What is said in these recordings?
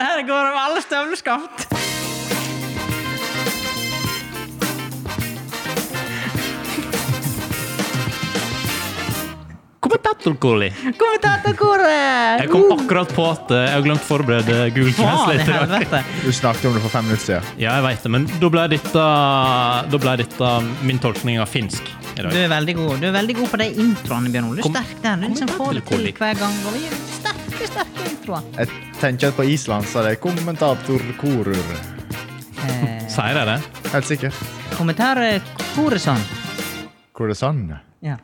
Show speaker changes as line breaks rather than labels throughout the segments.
Her går det med alle støvleskaft.
Kommentatorkolli.
Kommentatorkoret!
Jeg kom akkurat på at eh, jeg har glemt å forberede Google
Faen i
Translate. i dag.
helvete!
Du snakket om det for fem minutter siden.
Ja, jeg vet det, men da ble dette, da ble dette min tolkning av finsk i
Du
dag.
er veldig god Du er veldig god på de introene, Bjørn Ole. Du er
Kom-
sterk der. Du liksom får det til
kommentatorkolli.
hver gang. Og vi er sterke, sterke introer.
Jeg tenker at på Island så er det kommentatorkorur.
Eh,
Sier jeg det?
Helt sikkert.
Kommentarkoret sånn.
Hvor er det sånn?
Ja.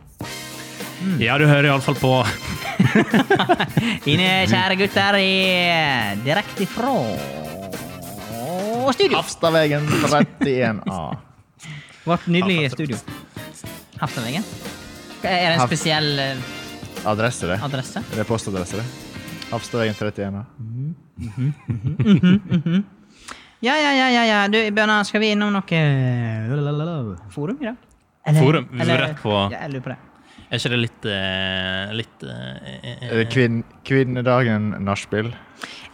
Mm.
Ja, du hører iallfall på.
Mine kjære gutter er direkte fra studio.
Hafstadvegen 31A.
Vårt nydelige studio. Haftaveien. Er det en
Haft-
spesiell eh,
Adresse, det.
adresse?
Det er postadresse, det. Hafstadvegen 31A.
Ja, ja, ja, ja, ja. Du, Bjørnar, skal vi innom noe eh, lalalala, forum i dag? Eller-
Forum? Vi
eller-
går rett på-
Ja, jeg lurer på det.
Er ikke det litt eh, litt eh,
Er det kvinn, kvinnedagen nachspiel?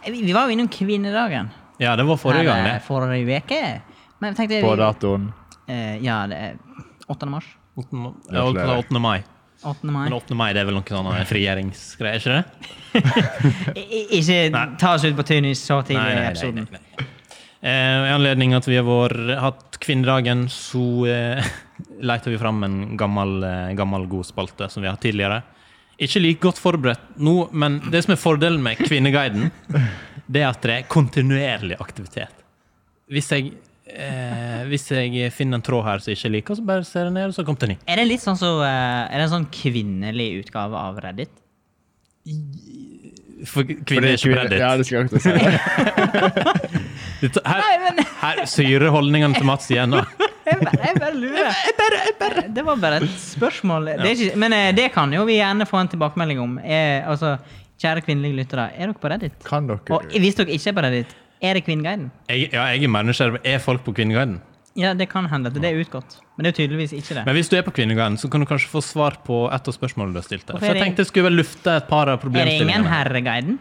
Eh, Vi, vi var jo innom kvinnedagen.
Ja, det var forrige gang,
Her, eh,
det.
Forrige uke. Men tenkte vi
På datoen
eh, Ja, det er 8. mars.
Åttende- Jeg holdt på å si 8. mai.
8. mai.
Men 8. mai det er vel noe sånn frigjøringsgreier, ikke det?
I, i, ikke
Nei.
ta oss ut på tynnis så tidlig
Nei,
i
nei, nei,
episoden.
nei, nei. Eh, I anledning at vi har vår, hatt kvinnedagen, så eh, leter vi fram en gammel, eh, gammel god spalte som vi har hatt tidligere. Ikke like godt forberedt nå, men det som er fordelen med Kvinneguiden, det er at det er kontinuerlig aktivitet. Hvis jeg, eh, hvis jeg finner en tråd her som jeg ikke liker, så bare ser jeg ned, og så kommer det en ny.
Er det litt sånn så, eh, Er det en sånn kvinnelig utgave av Reddit?
For kvinner er ikke på
kvinne-
Reddit.
Ja, det skulle jeg akkurat si.
Dette-
Nei,
Her,
men-
her syrer holdningene til Mats igjen. da.
Jeg bare, jeg bare lurer. Det var bare et spørsmål. Det er ikke, men eh, det kan jo vi gjerne få en tilbakemelding om. Eh, altså, kjære kvinnelige lyttere, er dere på Reddit?
Kan dere
Og hvis dere ikke er på Reddit, er det Kvinneguiden?
Jeg, ja, jeg er manager. Er folk på Kvinneguiden?
Ja, det kan hende. at Det er utgått. Men det er tydeligvis ikke det.
Men hvis du er på Kvinneguiden, så kan du kanskje få svar på et av spørsmålene du har stilt. der.
Hvorfor
For
er det-
jeg tenkte jeg skulle vel lufte et par av
Er det ingen
problemstillingene.
Herreguiden?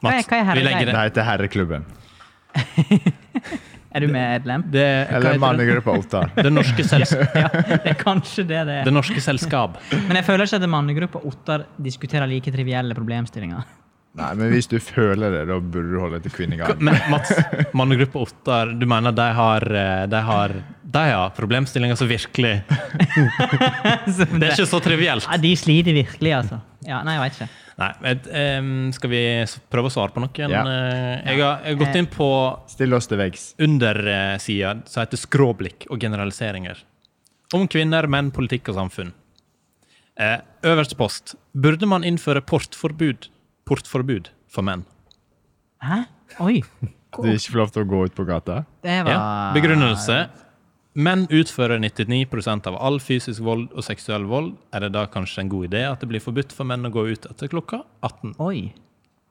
Hva er-
Mats,
hva er
vi legger
Det
det.
heter Herreklubben.
Er du medlem?
Det, hva
Eller
heter det?
mannegruppa Ottar.
det, norske sels,
Ja, det er kanskje det det
det
er.
norske selskap.
Men jeg føler ikke at mannegruppa Ottar diskuterer like trivielle problemstillinger.
Nei, men hvis du føler det, da burde du holde deg til Kvinneguiden.
Men Mats, mannegruppa Ottar, du mener de har, eh, de har, de har problemstillinger som virkelig Det er ikke så trivielt.
Ja, de sliter virkelig, altså. Ja, nei, jeg vet ikke.
Nei, men, ehm, skal vi s- prøve å svare på noen?
Ja.
Eh, Jeg, har, jeg har gått inn på
Still oss til veggs.
undersida som heter skråblikk og generaliseringer. Om kvinner, menn, politikk og samfunn. Eh, øverste post. Burde man innføre portforbud? Portforbud for menn.
Hæ? Oi.
Du ikke får lov til å gå ut på gata.
Det var
Ja. Begrunnelse. Menn utfører 99 av all fysisk vold og seksuell vold. Er det da kanskje en god idé at det blir forbudt for menn å gå ut etter klokka 18?
Oi.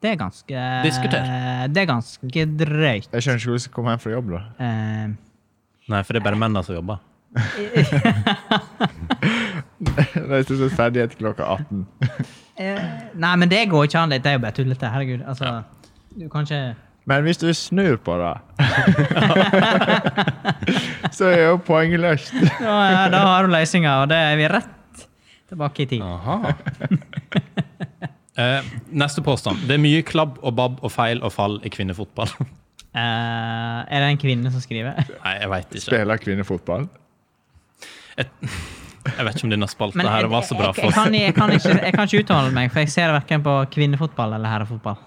Det er ganske
Diskuter.
Det er ganske drøyt.
Jeg skjønner ikke hvor du skal komme hjem fra jobb, da.
Eh,
Nei, for det er bare mennene som jobber.
Det er stort sett ferdig etter klokka 18.
eh, nei, men det går ikke an. Det er jo bare tullete. Herregud. Altså, du kan ikke
Men hvis du snur på det Så er jo poengløst.
ja, ja, Da har du løsninga, og det er vi rett tilbake i tid.
Aha. eh, neste påstand. Det er mye klabb og babb og feil og fall i kvinnefotball.
Eh, er det en kvinne som skriver?
Nei, jeg veit ikke.
Spiller kvinnefotball.
Jeg vet ikke om denne spalten
Men
her
jeg-
var så bra
jeg,
for
jeg,
oss.
kan, jeg, kan ikke, jeg kan ikke uttale meg, for jeg ser verken på kvinnefotball eller herrefotball.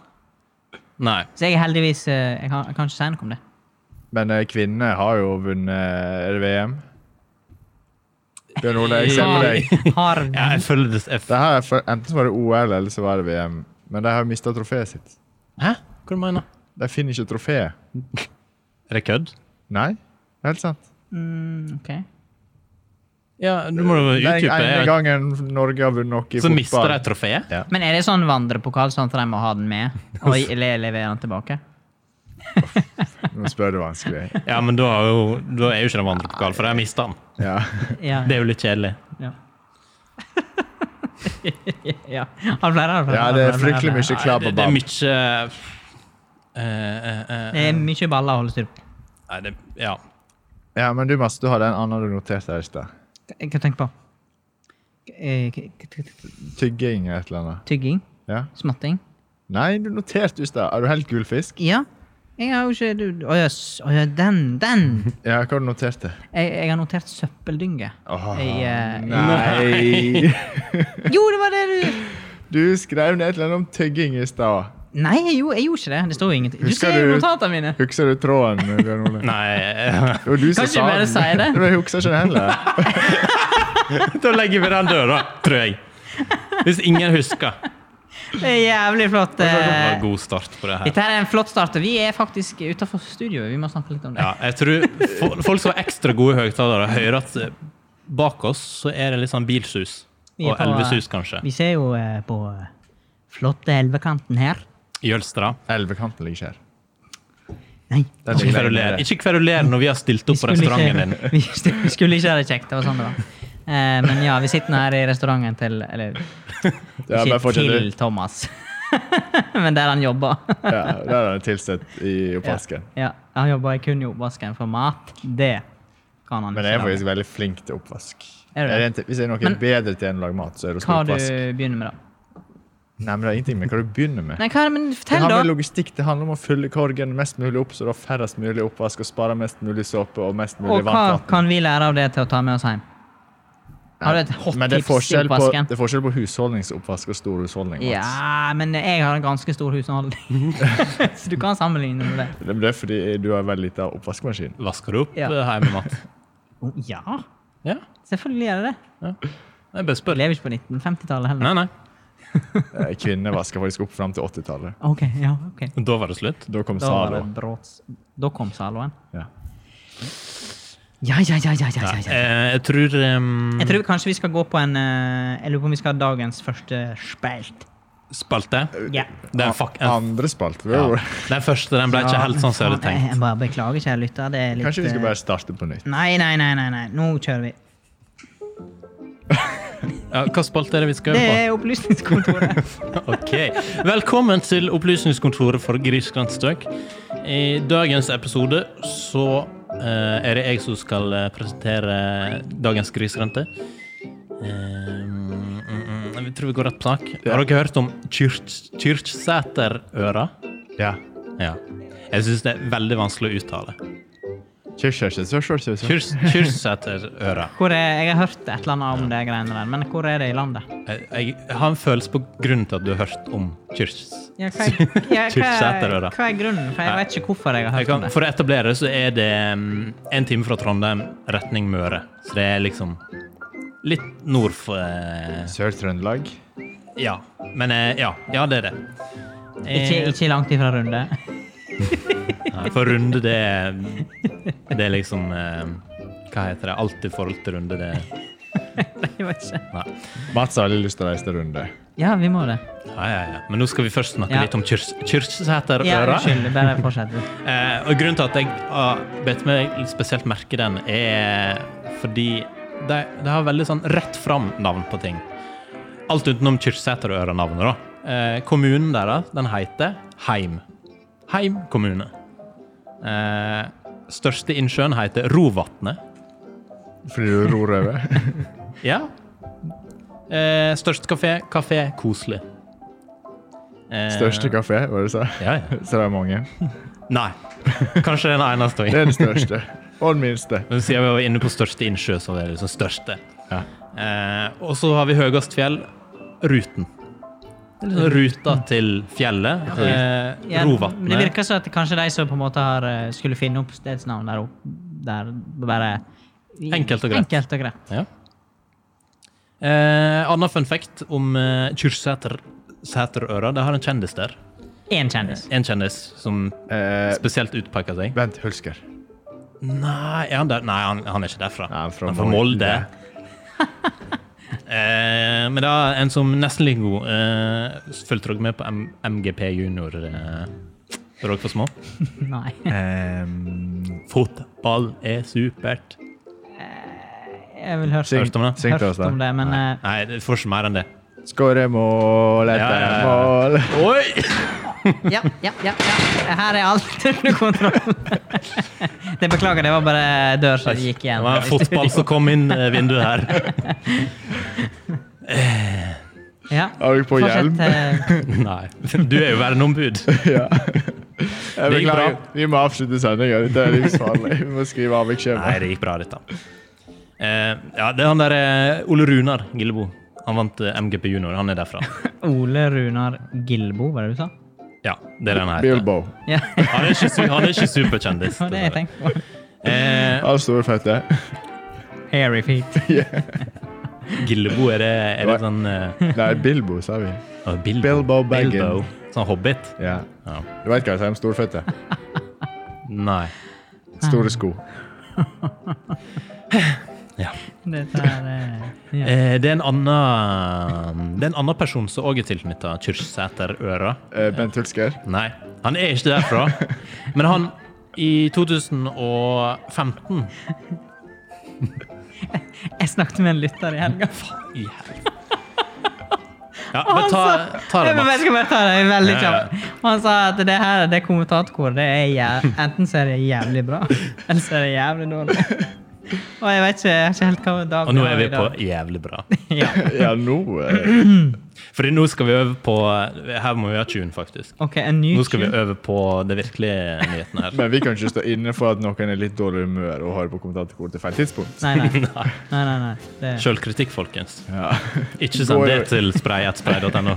Nei.
Så jeg er heldigvis eh, Jeg kan, jeg kan ikke si noe om det.
Men eh, kvinnene har jo vunnet eh, Er det VM? Bjørn Ole, jeg ser på deg.
Har,
Ja, jeg føler det jeg, f-
Det her er for, enten så var det OL, eller så var det VM. Men de har mista trofeet sitt.
Hæ? Hva du mener du?
De finner ikke trofeet.
Er det kødd?
Nei, det er helt sant.
mm, ok.
Ja, du må jo
Den
utdype.
ene
jeg-
gangen Norge har vunnet noe i
Så mister de
fotball
trofeet?
Ja.
Men er det sånn vandrepokal, sånn at de må ha den med? Og le- levere den tilbake?
Nå spør du vanskelig.
Ja, men da er jo, da er jo ikke den vandrepokalen, for de har mista den.
Ja.
Ja.
Det er jo litt kjedelig.
ja. ja. Han pleier, han pleier,
ja, det er fryktelig mye
Nei,
klabb
det,
og
det er
babb.
mye Eh, eh, eh,
Det er mye baller å holde styr på.
Nei, det Ja.
Ja, men du, Mats, du hadde en annen du noterte her i sted.
Hva hva tenker du på? Eh, k- k- k-
Tygging eller et eller annet.
Tygging?
Ja.
Smatting?
Nei, du noterte i sted. Er du helt gulfisk?
Ja. Jeg har jo ikke du- Å ja, s- å ja, den! Den!
Ja, hva har du notert det?
Jeg, jeg har notert søppeldynge.
Åh,
Jeg, eh,
nei!
Jo, det var det du
Du skrev ned et eller annet om tygging i stad.
Nei, jeg gjorde, jeg gjorde ikke det. Det står jo ingenting. Du
Husker
ser jo
du-
notatene mine.
Husker du tråden? Bjørn Ole?
Nei eh,
Det var du som
Kan ikke
sa
bare
den.
si det.
Men jeg husker ikke det heller.
Da legger vi den døra, tror jeg. Hvis ingen husker.
Det er jævlig flott.
Det var
eh,
en god start på det her.
Dette her er en flott start, og vi er faktisk utenfor studioet. Vi må snakke litt om det.
Ja, jeg tror fo- folk som har ekstra gode høyttalere, hører at eh, bak oss så er det litt sånn bilsus.
Vi er
Og
på, eh,
elvesus, kanskje.
Vi ser jo eh, på eh, flotte elvekanten her.
Jølstra.
Elvekanten ligger ikke her.
Nei.
Ikke
Den ligger lenger
kveruler.
nede.
Ikke kveruler når vi har stilt opp på restauranten din.
ikke, vi st- vi skulle ikke ha det kjekt. Det var sånn det var. Eh, men ja, vi sitter nå her i restauranten til Eller
Ja, bare
ikke
fortsett, du.
til Thomas, men der han jobber.
Ja, der er det tilsett i oppvasken.
Ja, han jobber kun i oppvasken for mat. Det kan han
Men jeg er
ikke lage.
faktisk veldig flink til oppvask.
Er du det?
Jeg en til- Hvis jeg er noe
Men-
bedre til enn å lage mat, så er det å
Hva
spille
du
oppvask.
begynner med, da?
Nei, men det er ingenting med hva du begynner med.
Nei, hva er det, men
Det
fortell,
handler om
da!
logistikk. Det handler om å fylle korgen mest mulig opp, så du har færrest mulig oppvask og sparer mest mulig såpe og mest mulig
Og hva
varmt vann.
kan vi lære av det til å ta med oss hjem? Har du et hot
Men det er,
tips
forskjell
til
på,
oppvasken?
det er forskjell på husholdningsoppvask og storhusholdning. Mats.
Ja, men jeg har en ganske stor husholdning, så du kan sammenligne med det.
Det det er fordi du har veldig lite oppvaskmaskin.
Vasker du opp eh,
Ja.
ja. hjemmemat?
Oh, Ja,
Ja.
selvfølgelig gjør jeg det.
Jeg bare
Jeg
spør.
lever ikke på 1950-tallet heller.
Nei, nei.
Eh, Kvinner vasker faktisk opp fram til 80-tallet.
Ok, ja, ok.
Da var det slutt.
Da kom
Da var det
Zalo.
bråts... Da kom saloen.
Ja.
Ja, ja, ja, ja, ja, ja,
Eh,
ja.
Jeg tror ehm,
Jeg tror kanskje vi skal gå på en eh, Jeg lurer på om vi skal ha dagens første spelt.
spalte
Ja.
Den, fuck, en,
Andre spalt.
ja.
Ja.
den første den ble ikke helt sånn som jeg hadde
Faen,
tenkt.
Jeg bare beklager, kjære lytter. Det er litt
Kanskje vi skal
eh,
bare starte på nytt.
Nei, nei, nei, nei, nei. Nå kjører vi.
Ja, hva spalte er det vi skal
Det
gjøre på?
er Opplysningskontoret.
Ok. Velkommen til Opplysningskontoret for grisgrendt strøk. I dagens episode så eh, er det jeg som skal eh, presentere dagens grisgrendte. Eh, mm, mm, mm, vi tror vi går rett på sak.
Ja.
Har dere hørt om Kyrk- Kyrksæterøra?
Ja.
Ja. Jeg syns det er veldig vanskelig å uttale.
Kjør, kjør, kjør, kjør, kjør, kjør.
Kyrs- Kyrksæterøra.
Hvor er, jeg har hørt et eller annet om det greiene der, men hvor er det i landet?
Jeg, jeg har en følelse på grunnen til at du har hørt om Kyrks...
Ja, hva, er, ja, hva, er,
Kyrksæterøra.
hva er grunnen? For jeg vet ikke hvorfor jeg har
Jeg
hørt
kan,
om det.
for å etablere så er det mm, en time fra Trondheim, retning Møre. Så det er liksom litt nord for eh,
Sør-Trøndelag.
Ja. Men eh, ja, ja, det er det. Eh,
Ikke, ikke langt ifra runde.
ja, Eh, For Runde, det er Det er liksom eh, Hva heter det? Alt i forhold til Runde, det er
Jeg vet ikke.
Nei.
Mats har veldig lyst til å reise til runde.
Ja, vi må det.
Ja, ja, ja. Men nå skal vi først snakke
Ja.
litt om Kyrs- Kyrksæterøra.
Ja, unnskyld. Bare fortsett.
Eh, og grunnen til at jeg har bet meg litt spesielt merke den, er fordi de, de har veldig sånn rett fram-navn på ting. Alt utenom Kyrksæterøra-navnet, da. Eh, kommunen deres, den heter Heim. Heim kommune. Eh, største innsjøen heter Rovatnet.
Fordi du ror over.
Ja. Eh, størst kafé, Kafé Koselig. Eh,
Største kafé, var det du sa?
Ja, ja.
Så det er mange.
Nei. Kanskje den eneste.
Det er den største. Og den minste.
Men siden vi var inne på største innsjø, så var det liksom største.
Ja.
Eh, og så har vi høyest fjell, Ruten. Det er
sånn
liksom ruta til fjellet. Eh,
Ja, men det
Rovatnet.
virker som at kanskje de som på en måte har, eh, skulle finne opp stedsnavn der oppe, der bare
Enkelt og greit.
Enkelt og greit.
Ja. Eh, Anna fun fact om eh, Kyrksæter Sæterøra. Det har en kjendis der.
Én kjendis.
En kjendis som
Eh,
spesielt utpeker seg.
Bent Hulsker.
Nei, er han der? Nei, han, han er ikke derfra.
Nei, han er fra
han er fra Molde. eh, men da, en som nesten like god eh, Fulgte dere med på M MGP junior eh, da dere var små?
Nei.
Ehm,
Fotball er supert.
Jeg vil høre
syng,
Hørte om det?
syng til oss,
hørt om
da.
det, men eh,
Nei, det får ikke mer enn det.
Skåre mål etter
Ja, ja, ja.
mål.
Oi!
Ja, ja, ja, ja. Her er alt under kontroll. Det beklager, det var bare dør som gikk
Det
igjen.
var en fotball som kom inn eh, vinduet her.
Ja.
Har du på hjelm?
Fortsett, eh,
Nei. Du er jo verneombud.
ja. Jeg
Det gikk bra.
beklager. Vi må avslutte sendinga. Dette er livsfarlig. Vi må skrive
Nei,
avviksskjema.
det gikk bra, dette. Eh, ja, det er han der eh, Ole Runar Gillebo. Han vant eh, MGP junior. Han er derfra.
Ole Runar Gilbo, var det du sa?
Ja, det er den her.
Bilbo.
Ja, det
Han er ikke, su- han er ikke superkjendis.
var det jeg tenkte på.
Eh,
Av store fette.
Hairy feet.
Gillebo, er det, er det sånn eh,
Nei, Bilbo, sa vi.
oh, Bilbo.
Bilbo Baggins.
Bilbo. Sånn hobbit?
Ja.
Ja.
Du vet hva jeg sier om storføtte?
Nei.
Store sko.
Ja.
Dette er eh, ja.
Eh, det er en annen Det er en annen person som òg er tilknytta Kyrksæterøra.
Eh, Bent Hulsker.
Nei, han er ikke derfra. Men han I 2015
Jeg snakket med en lytter i helga.
I helvete. Ja, men ta, ta det,
Jeg bare
Mats.
skal bare ta det veldig
Ja, ja.
kjapt. Han sa at det her, det kommentatorkoret, det er jæv enten så er det jævlig bra, eller så er det jævlig dårlig. Og jeg vet ikke, jeg har ikke helt hva dag
Og nå er
det
vi på jævlig bra.
i dag. Ja,
Ja, nå eh,
Fordi nå skal vi øve på Her må vi ha tune, faktisk.
ok, en ny
Nå skal vi
tune.
øve på det virkelige nyhetene her.
Men vi kan ikke stå inne for at noen er litt dårlig i humør og hører på kommentatorkoret til feil tidspunkt.
Nei, nei, nei. nei, nei. Det,
Sjølkritikk, folkens.
Ja.
Ikke send det til spray1spray.no.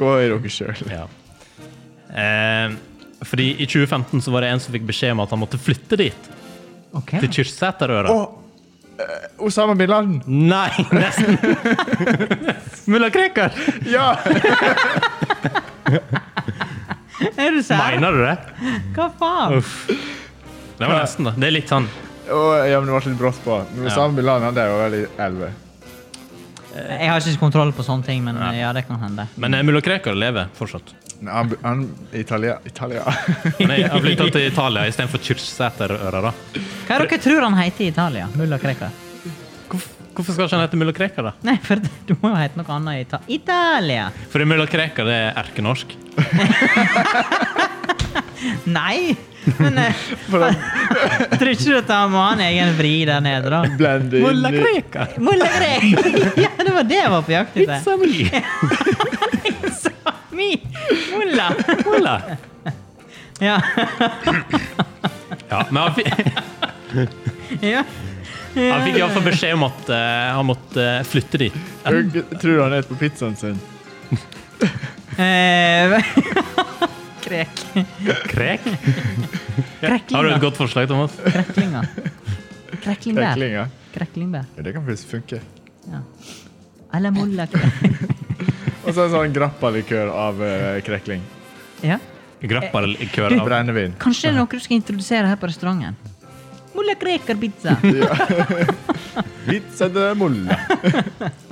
Gå i dere sjøl.
Ja. Eh, fordi i 2015 så var det en som fikk beskjed om at han måtte flytte dit.
ok.
Til Kyrksæterøra.
eh, Osama bin Laden!
Nei, nesten! Mulla Krekar!
Ja!
Er du sær?
Mener du det?
Hva faen?
Uff. Det var nesten, da. Det er litt sånn
Og, ja, men det ble litt brått på. Men Osama bin Laden han der var vel i 11.
Jeg har ikke kontroll på sånne ting, men
Nei.
ja, det kan hende.
Men eh, mulla Krekar lever fortsatt.
Nei, Han, han Italia, Italia.
Han er- har flytta til Italia istedenfor Kyrksæterøra. da.
Hva er dere tror han heter i Italia? Mulla Krekar?
Hvorf- Hvorfor skal ikke han hete mulla Krekar, da?
Nei, for du må jo hete noe annet i Ita Italia!
Fordi mulla Krekar det er erkenorsk.
Nei! Men eh,
For han
tror ikke du at han må ha en egen vri der nede, da?
blender
Mulla
inn i
Krekar!
Mulla Krekar! Ja, det var det jeg var på jakt etter.
It's a me!
It's a me! Mulla!
Mulla.
Ja.
Ja, men han fikk,
ja.
han fikk iallfall beskjed om at eh, han måtte eh, flytte dit.
Jeg tror han er på pizzaen sin.
Eh, Krek.
Krek? Har du et
Kreklinga.
godt forslag, Thomas?
Kreklinga. Kreklingbær.
Teklinga.
Kreklingbær.
Ja, det kan faktisk funke.
Ja. Eller mulla Krekar.
Og så en sånn grappalikør av eh, krekling.
Ja.
Grappar kør av
Brennevin.
Kanskje det er noe du skal introdusere her på restauranten? Mulla Krekar-pizza.
Pizza de mulla.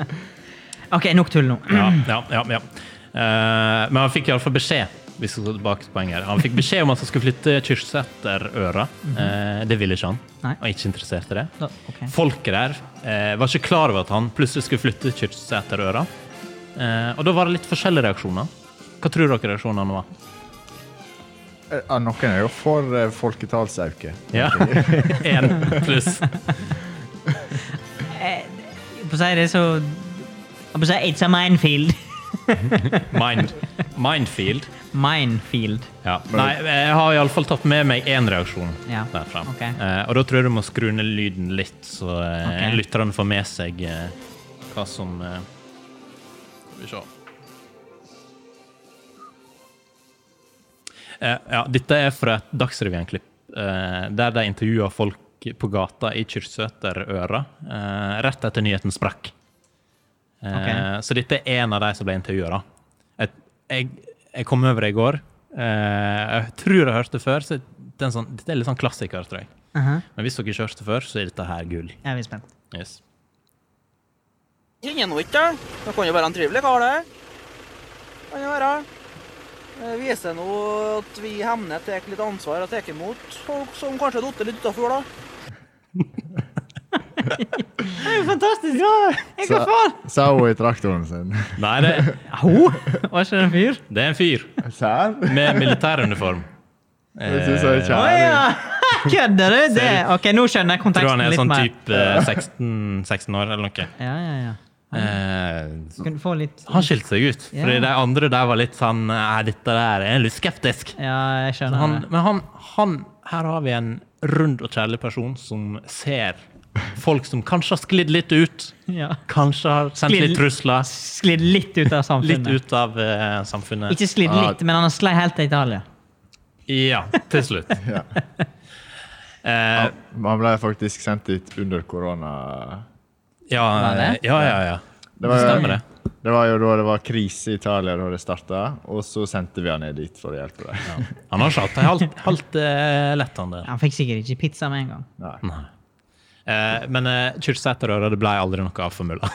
OK, nok tull nå.
Ja, ja, ja. ja. Eh, men han fikk iallfall beskjed hvis vi skal tilbake til poenget her. Han fikk beskjed om at han skulle flytte Kyrksæterøra. Eh, det ville ikke han.
Mhm. Nei.
Og ikke interessert i det.
Da- ok.
Folket der eh, var ikke klar over at han plutselig skulle flytte Kyrksæterøra. Eh, og da var det litt forskjellige reaksjoner. Hva tror dere reaksjonene var?
Eh, Ja, noen er jo for eh, folketallsauke.
Ja, Én pluss.
på å si det, så jeg på å si, It's a minefield.
Mind, mindfield.
Minefield.
Ja. Nei, jeg har iallfall tatt med meg én reaksjon
Ja,
derfra.
ok.
Eh, og da tror jeg du må skru ned lyden litt, så eh,
Ok.
lytterne får med seg eh, hva som eh, Skal vi se. Eh, ja, dette er fra et Dagsrevyen-klipp eh, der de intervjua folk på gata i Kyrksæterøra eh, rett etter nyheten sprakk. Eh,
Ok.
Så dette er en av de som ble intervjua. Jeg, jeg kom over det i går. Eh, jeg tror jeg hørte det før. Så det er en sånn, dette er litt sånn klassiker, tror jeg.
Aha.
Men hvis dere ikke hørte det før, så er dette her gull.
Jeg er litt spent.
Yes.
Kjenner nå ikke han. Det kan jo være en trivelig kar, det. Kan jo være. Det viser nå at vi i Hemne tar litt ansvar og tar imot folk som kanskje har falt litt utafor, da.
Det er jo fantastisk bra! Jeg
Sa-
går faen!
Sa hun i traktoren sin.
Nei, det,
Ho! Var ikke det en fyr?
det er en fyr
Serr?
med militæruniform.
Hvis du så
Eh, Å
kjære
ja! Kødder du? Det. Ok, nå skjønner jeg
Tror
konteksten
han er
litt
sånn
mer.
type eh, 16, 16 år eller noe.
Ja, ja, ja.
Eh,
Kunne få litt
han skilte seg ut, fordi
Ja.
de andre der var litt sånn Nei, dette der er litt skeptisk.
Ja, jeg skjønner.
Han,
det.
men han, han Her har vi en rund og kjærlig person som ser folk som kanskje har sklidd litt ut.
Ja.
Kanskje har sendt
Sklidd-
litt trusler.
Sklidd litt ut av
Litt
samfunnet.
ut av eh, samfunnet.
Ikke sklidd
Ja.
litt, men han har slei helt til Italia.
Ja, til slutt.
Ja.
Eh,
Man ble faktisk sendt dit under korona.
ja, eh,
Var det?
ja, ja, ja.
Det var,
Stemmer
jo,
det.
det var jo da det var krise i Italia da det starta, og så sendte vi han ned dit for å hjelpe dem.
Han har ikke hatt det halvt, halvt eh, lett, han der.
Han fikk sikkert ikke pizza med en gang.
Nei.
Nei. Eh, men eh, Kyrksæterøra det ble aldri noe av for mulla.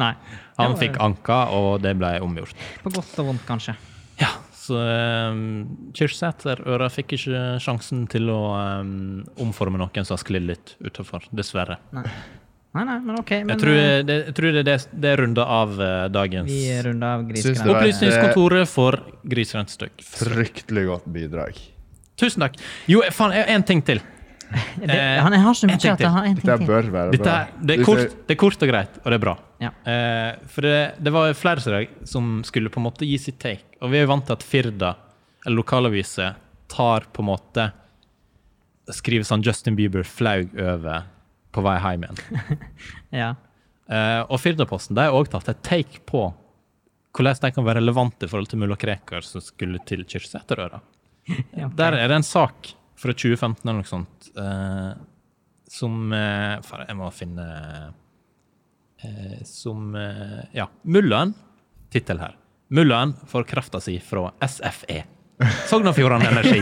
Nei.
Han
Det
fikk
var
anka, og det ble omgjort.
På godt og vondt, kanskje.
Ja, så um, Kyrksæterøra fikk ikke sjansen til å eh, omforme noen som har sklidd litt utenfor, dessverre.
Nei, nei, nei men OK. Men
Jeg tror,
eh,
det, jeg tror det, er det, det er runda av eh, dagens
vi runder av
Syns det
grisgrensa.
var-
Opplysningskontoret for grisrentestykke.
Fryktelig godt bidrag.
Tusen takk. Jo, faen, jeg har en ting til. eh,
Han jeg har så
en ting
mye at jeg har en
Dette
ting til.
bør være
Dette
bra.
er, det, er kort, det er kort og greit, og det er bra.
Ja.
Eh, for det, det var flere som deg som skulle på en måte gi sitt take. Og vi er jo vant til at Firda, eller lokalaviser, tar på en måte Skriver sånn Justin Bieber flaug over på vei hjem igjen.
Ja.
Eh, og Firdaposten de har òg tatt et take på hvordan de kan være relevante i forhold til mulla Krekar som skulle til Kyrksæterøra.
Ja, ok.
Der er det en sak fra 2015 eller noe sånt eh, som eh, faen, Jeg må finne eh, Som eh, Ja. Mullaen. Tittel her. Mullaen får krafta si fra SFE. Sogn og Fjordane Energi.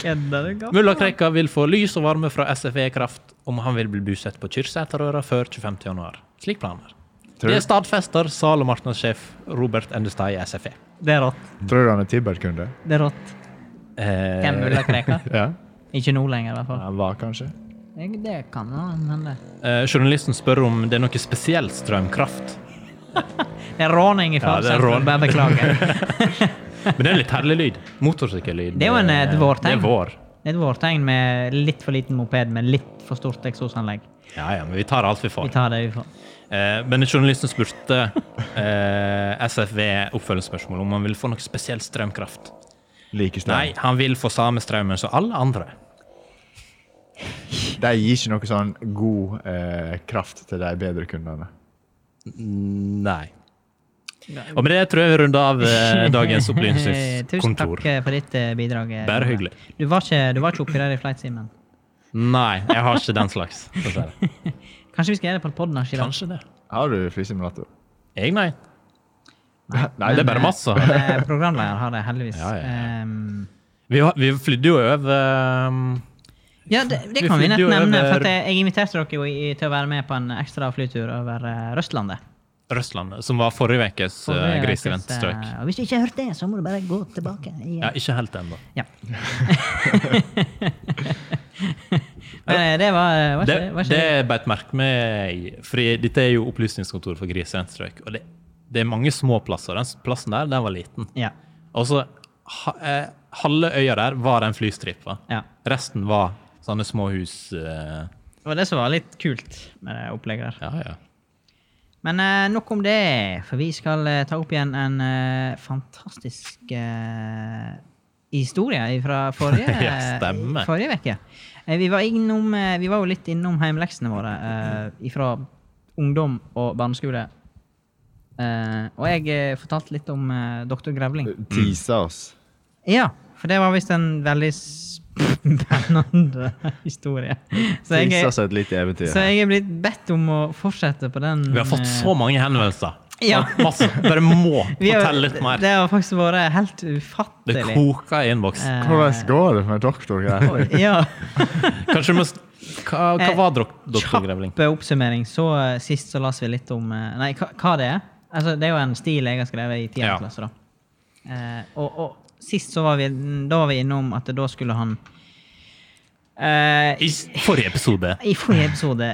Kødder du, gammel?
Mulla Krekar vil få lys og varme fra SFE Kraft om han vil bli bosatt på Kyrksæterøra før 25. januar. Slik planer.
Tror-
Det stadfester sal- og markedssjef Robert Endestad i E. SFE.
Det er rått.
Tror du han er Tibber-kunde?
Det er rått.
Eh,
Hvem mulla Krekar?
Ja.
Ikke nå lenger, i hvert fall.
Han var kanskje.
Jeg- Det kan han hende.
eh, journalisten spør om det er noe spesiell strømkraft.
Det er råning i
det er
Farsund.
rån.
Bare beklager.
Men det er en litt herlig lyd. Motorsykkellyd.
Det er jo en, eh, et vårtegn.
Det er vår.
Det er et vårtegn med litt for liten moped med litt for stort eksosanlegg.
Ja, ja, men vi tar alt vi
Vi
får.
tar det ufor.
Eh, men journalisten spurte eh, SFV oppfølgingsspørsmål om han ville få noe spesiell strømkraft.
Like
Nei,
streng.
han vil få samme strømmen som alle andre.
De gir ikke noe sånn god eh, kraft til de bedre kundene.
Nei. Og med det tror jeg vi runder av eh, dagens
Tusen takk
opplysningskontor.
eh, for ditt eh, bidrag. eh,
Bare
Gunnar.
hyggelig.
Du var ikke, du var ikke oppi der i flight-simen.
Nei, jeg har ikke den slags. dessverre.
Kanskje vi skal gjøre det på podnach i dag?
Kanskje det.
Har du flysimulator?
Jeg, nei.
Nei,
Det er
Men,
bare
eh,
masse.
men, eh, Programleder har det heldigvis.
Ja, ja, ja.
Ehm,
Vi, har- vi flydde jo over um,
ja, det, det
Vi
kan vi
flydde
nett
jo
nevne. For
over-
at jeg, jeg inviterte dere jo i, til å være med på en ekstra flytur over eh, Røstlandet.
Røstlandet, som var forrige ukes
Og det er faktisk, eh,
griseventstøk.
og Hvis du ikke har hørt det, så må du bare gå tilbake. i-
Ja, ikke helt ennå.
Ja. Men eh, det var, var,
Det,
ikke, var ikke
det beit merke meg, for dette er jo opplysningskontor for griseventstrøk. Og det, det er mange små plasser. Den s- plassen der, den var liten.
Ja.
Og så ha, eh, halve øya der var den flystripa.
ja.
Resten var sånne små hus. Eh,
Det var det som var litt kult med det opplegget der.
ja, ja.
Men eh, nok om det, for vi skal eh, ta opp igjen en eh, fantastisk eh, historie fra forrige
Ja, stemmer.
forrige uke. Eh, vi, var innom, eh, vi var jo litt innom heimleksene våre eh, fra ungdom og barneskole. Eh, og jeg eh, fortalte litt om eh, doktor Grevling.
Teasa oss.
Mm. Ja, for det var visst en veldig spennende historie. Så
Teasa
jeg, eh,
oss et lite eventyr.
så jeg er blitt bedt om å fortsette på den.
Vi har fått
eh,
så mange henvendelser.
Ja.
Masse. Bare må
Vi har-
fortelle litt mer.
Det har faktisk vært helt
Det
ufattelig.
koker i innboks.
Eh,
Hvordan går det med doktorgreier?
ja.
Kanskje du må s- Hva, hva
Eh,
var dok doktor Grevling?
Kjapp oppsummering. Så eh, sist så las vi litt om eh, Nei, hva, hva det er? Altså, det er jo en stil jeg har skrevet i 10.
Ja.
klasse, da. Eh, og, og sist så var vi, da var vi innom at da skulle han Eh,
I s- forrige episode.
I forrige episode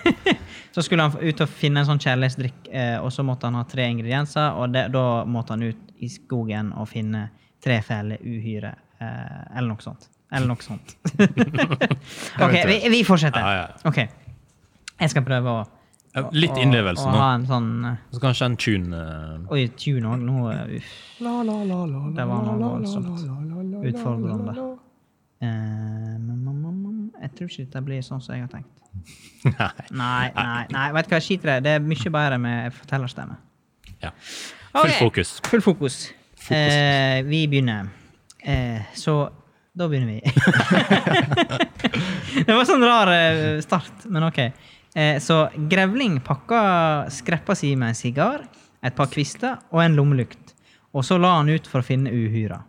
så skulle han ut og finne en sånn kjærlighetsdrikk, eh, og så måtte han ha tre ingredienser, og det, da måtte han ut i skogen og finne tre feller uhyre, eh, eller noe sånt. Eller noe sånt. OK, vi, vi
Ja, ja.
fortsetter. OK. Jeg skal prøve å
Ja, Litt
å-
innlevelse
å
nå.
ha en sånn eh,
Så kanskje en tune eh,
Oi, tune òg. Nå eh, Uff. Det var noe voldsomt. Utfordrende. Eh, men, men, men, men, jeg tror ikke dette blir sånn som jeg har tenkt.
Nei.
Nei, nei, nei. Vet du hva, skit i det. Det er mye bedre med fortellerstemme.
Ja. Full
Ok.
fokus.
Full fokus. Eh, vi begynner. Eh, så da begynner vi. det var sånn rar eh, start, men OK. Eh, så Grevling pakka skreppa si med en sigar, et par kvister og en lommelykt. Og så la han ut for å finne uhyra.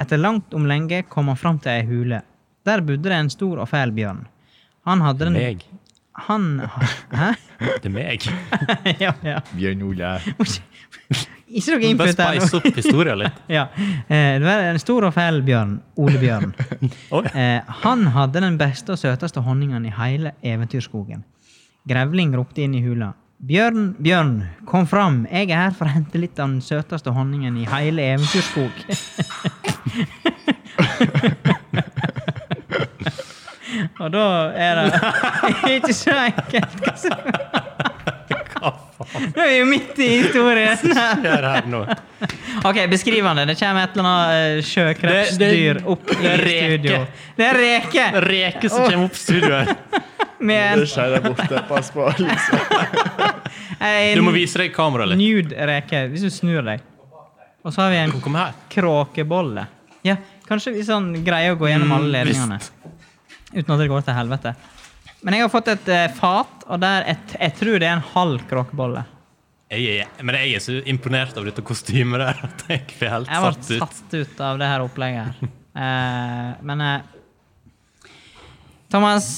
Etter langt om lenge kom han fram til ei hule. Der bodde det en stor og fæl bjørn. Han hadde den
Meg.
Han Hæ?
Det er meg.
ja, ja.
Bjørn Ole.
Ikke noe
Bare
input der nå.
spice opp historien litt.
Ja. Eh, Det var en stor og fæl bjørn, Ole Bjørn.
Oi.
Eh, Han hadde den beste og søteste honningen i hele eventyrskogen. Grevling ropte inn i hula. Bjørn, bjørn, kom fram, jeg er her for å hente litt av den søteste honningen i hele eventyrskog. og da er det ikke så enkelt. hva som-
Hva faen
Nå er vi jo midt i historien. her.
skjer her nå?
Ok, beskriv han det. Det kommer et eller annet eh, sjøkrepsdyr
Det- det-
opp i
det er reke.
studio. Det er reke!
Reke som kommer opp studio her.
Med en,
Det skjer der borte. Pass på. Liksom.
en
Du må vise deg kameraet litt.
nude reke, hvis du snur deg. Og så har vi en
Kom her.
kråkebolle. Ja, kanskje vi sånn greier å gå gjennom alle
Mm,
ledningene. Uten at det går til helvete. Men jeg har fått et eh, fat, og der jeg, t- jeg tror det er en halv kråkebolle.
Jeg, er- men jeg er så imponert av dette kostymet der at jeg blir helt
Jeg ble
satt ut.
satt ut av det her opplegget her. Eh, men eh, Thomas,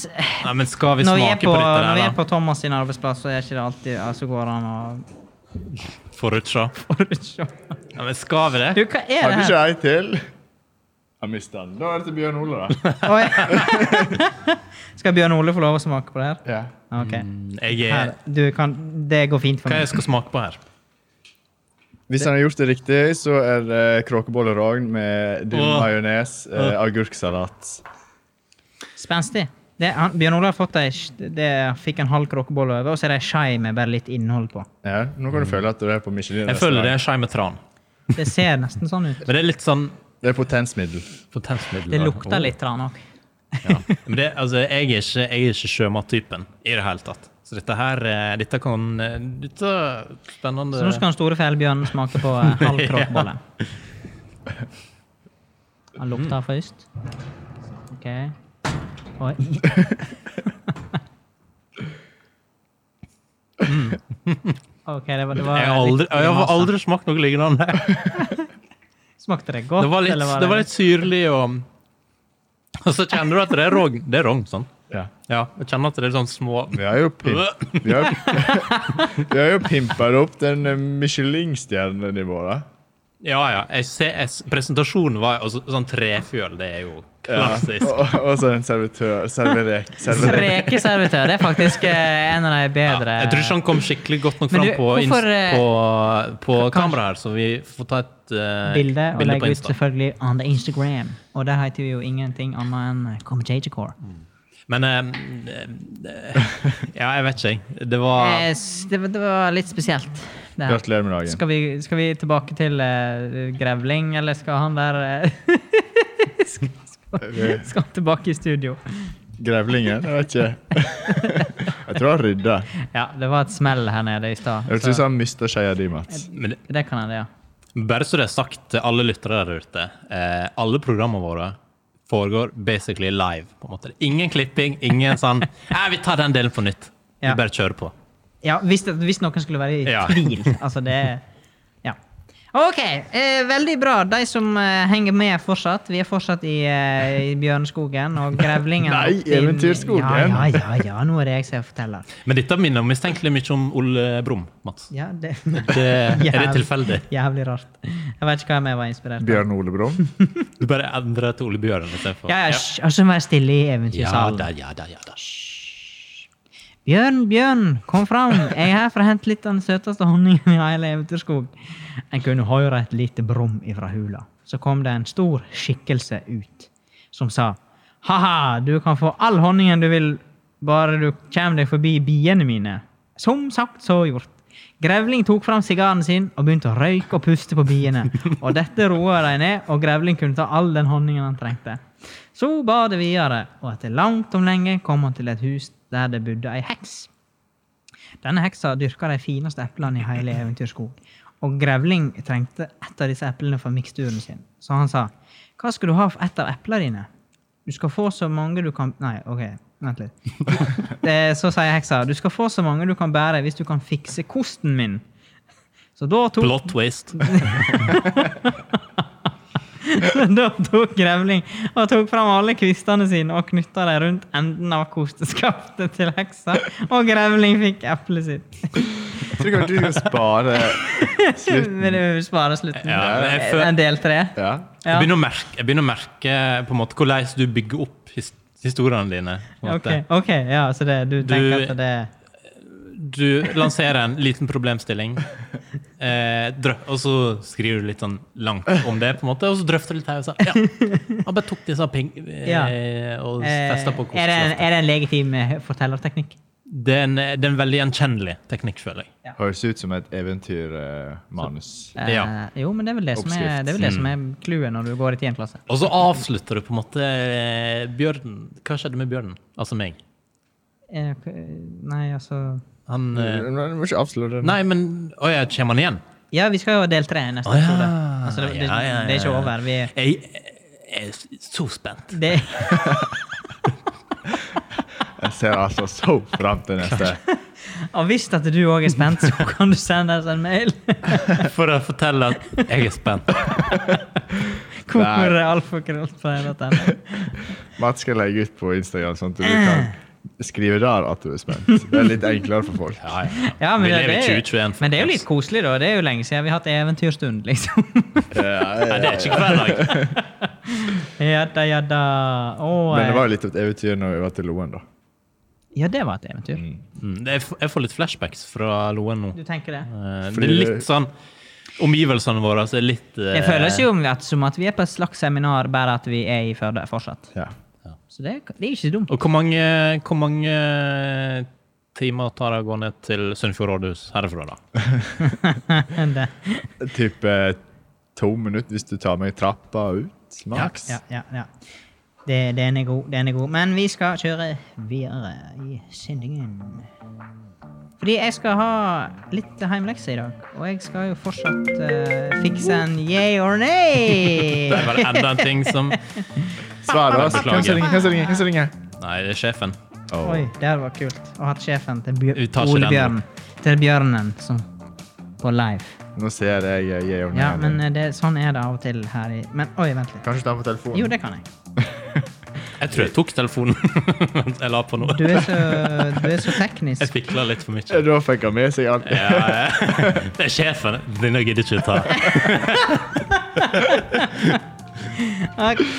Nei, men skal vi
når vi,
smake
er på,
på, dette
når vi er
der,
på Thomas sin arbeidsplass, så er ikke det alltid ja, så går han og
da? Forutsja.
forutsjå.
Nei, men skal vi
Du,
det?
hva er
Har
det
du
her?
ikke ei til? Jeg mista den. Da er det til Bjørn Ole, da.
Oi. skal Bjørn Ole få lov å smake på det her?
Ja.
Ok.
Mm, Jeg
Her,
er,
du kan, det går fint for
hva jeg
meg.
skal smake på her?
Hvis han har gjort det riktig, så er det kråkebollerogn med dill
Åh.
majones, eh, agurksalat.
Spenstig. Det, han, Bjørn Ole har fått ei, det fikk en halv kråkebolle over, og så er det ei skei med bare litt innhold på.
Ja, nå kan du føle at du er på Michelin.
Mm. Jeg føler det er en skei med tran.
Det ser nesten sånn ut.
Men det er litt sånn
Det er potensmiddel.
potensmiddel.
Det
da.
lukter litt tran òg.
Ja. Men det, altså, jeg er ikke, jeg er ikke sjømattypen i det hele tatt. Så dette her eh, Dette kan eh, Dette er spennende.
Så nå skal den store fjellbjørnen smake på eh, halv kråkebolle. Han lukter først. OK. Oi. Mm. OK, det var, det var
jeg har aldri, jeg har aldri smakt noe lignende.
Smakte det godt?
Det var litt,
eller
det var litt syrlig og Og så kjenner du at det er rogn. Det er rogn, sånn.
Ja.
Ja, jeg kjenner at det er sånn små
Vi har jo, pimp, vi har, vi har jo pimpa det opp den eh, Michelin-stjernenivået.
Ja, ja. Jeg ser, jeg, s- presentasjonen var altså, sånn trefjøl. Det er jo
Ja.
klassisk.
Og, og så en servitør. Serverek. serverek.
Rekeservitør. Det er faktisk eh, en av de
Ja,
bedre
jeg tror ikke han kom skikkelig godt nok
Men
fram
du,
på, inst-
hvorfor, eh,
på, på
kanskje-
kamera her, så vi får ta et eh,
bilde og
bilde
legge
på
ut
Insta.
selvfølgelig on the Instagram. Og der heter vi jo ingenting annet enn eh, Comjajacor.
Men eh, eh, Ja, jeg vet ikke, jeg. Det var
Eh, s- Det, var- det var litt spesielt. Det her.
Gratulerer med dagen.
Skal vi, skal vi tilbake til eh, grevling, eller skal han der eh, skal, skal, skal han tilbake i studio?
Grevlingen? Jeg vet ikke. Jeg tror han rydda.
Ja, det var et smell her nede i stad.
Jeg
så
syns han mista skeia di, Mats.
men, det-
Det kan hende, ja.
Bare så det er sagt til alle lyttere der ute. Eh, alle programmene våre foregår basically live. på en måte. Ingen klipping, ingen sånn Nei, vi tar den delen på nytt.
Ja.
Vi bare kjører på.
ja hvis, det, hvis noen skulle være i
Ja.
tvil. Altså, det er- Ja. OK, eh, veldig bra. De som eh, henger med fortsatt. Vi er fortsatt i, eh, i Bjørneskogen og Grevlingen. har
Nei,
gått inn-
Eventyrskogen.
Ja, ja, ja, ja, nå er det jeg som forteller.
Men dette minner mistenkelig mye om Ole Brumm, Mats.
Ja, det,
Det, er det
Jævlig.
tilfeldig?
jævlig rart. Jeg vet ikke hvem jeg var inspirert av.
Bjørn Ole Brumm.
Du bare endrer til Ole Bjørn istedenfor.
Ja, sånn. ja, hysj, altså vær stille i
ja
eventyrsalen.
da, ja da, ja da.
Bjørn, Bjørn, kom fram. Jeg er her for å hente litt av den søteste honningen i hele Eventyrskog. En kunne høre et lite brum ifra hula. Så kom det en stor skikkelse ut, som sa Ha-ha, du kan få all honningen du vil, bare du kommer deg forbi biene mine. Som sagt, så gjort. Grevling tok fram sigaren sin og begynte å røyke og puste på biene. Og dette roa de ned, og Grevling kunne ta all den honningen han trengte. Så bar det videre, og etter langt om lenge kom han til et hus der det bodde ei heks. Denne heksa dyrka de fineste eplene i hele Eventyrskog, og Grevling trengte ett av disse eplene for miksturen sin, så han sa Hva skal du ha for ett av eplene dine? Du skal få så mange du kan Nei, OK, vent litt. Det, så sier heksa du skal få så mange du kan bære hvis du kan fikse kosten min. Så da tok
Plot twist.
Men da tok Grevling og tok fram alle kvistene sine og knytta dem rundt enden av kosteskaftet til heksa, og Grevling fikk eplet sitt.
Tror du kanskje du skal spare
Men
slutten?
det vil spare slutten. Eh,
Ja, men jeg føl-
En del tre.
Ja.
Ja.
Jeg, begynner å merke, jeg begynner å merke på en måte hvordan du bygger opp his historiene dine. på en
Ok,
måte.
ok, ja, så det, du tenker at det
Du lanserer en liten problemstilling, eh, drø- og så skriver du litt sånn langt om det, på en måte, og så drøfter du litt her og så, ja, Han bare tok disse pengene eh, og
eh,
testa på
er, det en,
kosteskaftet.
er det en legitim eh, fortellerteknikk?
Det er en, det er en veldig gjenkjennelig teknikk, føler jeg.
Høres ut som et eventyrmanus.
Eh,
Ja. Mm.
Jo, men det er vel det som er,
Oppskrift.
det er vel det som er clouet når du går i 10. klasse.
Og så avslutter du på en måte eh, Bjørnen Hva skjedde med bjørnen? Altså meg.
Eh, ok, Nei, altså
Han eh,
Men du må ikke avsløre det.
Nei, men Å ja, kommer han igjen?
Ja, vi skal jo ha del tre i neste
Å ja.
episode. Altså, det, det,
Ja, ja, ja,
det er ikke
ja.
over. Vi,
Jeg, jeg er så spent.
det,
Jeg ser altså så fram til neste.
Og hvis at du òg er spent, så kan du sende oss en mail.
For å fortelle at jeg er spent.
Hvor alfakrøllfreie.no.
Mats skal legge ut på Instagram, sånn at du kan skrive der at du er spent. Det er litt enklere for folk.
Ja, ja.
Ja, men,
Vi
det,
lever i
det er-
2021,
men det er jo
folkens.
litt koselig, da. Det er jo lenge siden vi har hatt eventyrstund, liksom.
Nei, det er ikke hver dag.
Jadda, jadda. Å,
Men det
eh,
var jo litt av et eventyr når vi var til Loen, da.
Ja, det var et eventyr.
Mm, det er- Jeg får litt flashbacks fra Loen nå.
Du tenker det?
Eh, Det
Fordi
er litt
det-
sånn Omgivelsene våre er litt eh,
Det føles jo at, som at vi er på et slags seminar, bare at vi er i Førde fortsatt.
Ja.
Så det, er- det er ikke så dumt.
Og hvor mange, hvor mange eh, timer tar det å gå ned til Sunnfjord rådhus herfra, da?
Det.
Typ eh, to minutter hvis du tar med trappa ut, maks.
Ja, ja, ja. Det, den er god, den er god. Men vi skal kjøre videre i sendingen. Fordi jeg skal ha litt heimlekse i dag, og jeg skal jo fortsatt eh, fikse en yeah or nay.
Det er vel enda en ting som
Svar da.
Beklager.
Hvem som ringer? Hvem som ringer? Hvem som ringer?
Nei, det er sjefen.
Åh.
Oi, det hadde vært kult å ha sjefen til Bjør
Vi tar ikke
Ole
den,
Bjørn. Til Bjørnen som, på live.
Nå ser jeg eh, jeg og
Ja,
Nene.
men eh, det, sånn er det av og til her i Men oi, vent litt.
Kanskje ta den på telefonen?
Jo, det kan jeg.
Jeg tror jeg tok telefonen mens jeg la på noe.
Du er så, du er så teknisk.
Jeg fikla litt for mye.
Eh, Da fikk han med seg alt.
Ja, ja. det er sjefen. Denne gidder ikke ta.
Ok,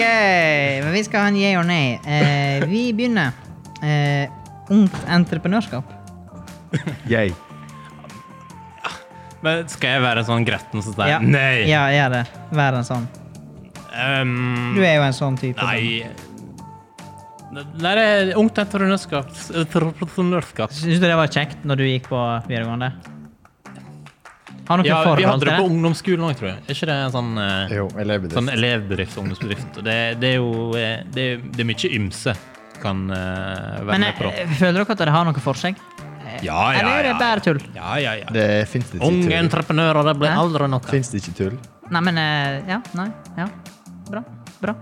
men vi skal ha en yeah or nay. Eh, vi begynner. Eh, ungt entreprenørskap.
Yay.
Men skal jeg være sånn gretten som sier
Ja.
nei?
Ja, gjør det. Vær en sånn.
Ehm,
Du er jo en sånn type.
nei. Nei, det er ungt entreprenørskap. entreprenørskap.
Syns du det var kjekt når du gikk på videregående? Har noe
Ja,
forhold
vi hadde
til
det på
det?
ungdomsskolen òg, tror jeg. Er ikke det en sånn, eh,
Jo, jeg lever
sånn
det.
elevbedrift, ungdomsbedrift? Og Det, det er jo eh, det er, det er mye ymse kan eh, være
Men
med på.
eh, føler dere at det har noe for seg? Eh,
Ja, ja,
Eller er det
ja,
bare tull?
Ja, ja, ja.
Det fins det ikke
Unge
tull.
entreprenører, det blir
Hæ?
aldri noe.
Finnes det ikke tull?
Nei, men eh, Ja. Nei. Ja. Bra. Bra.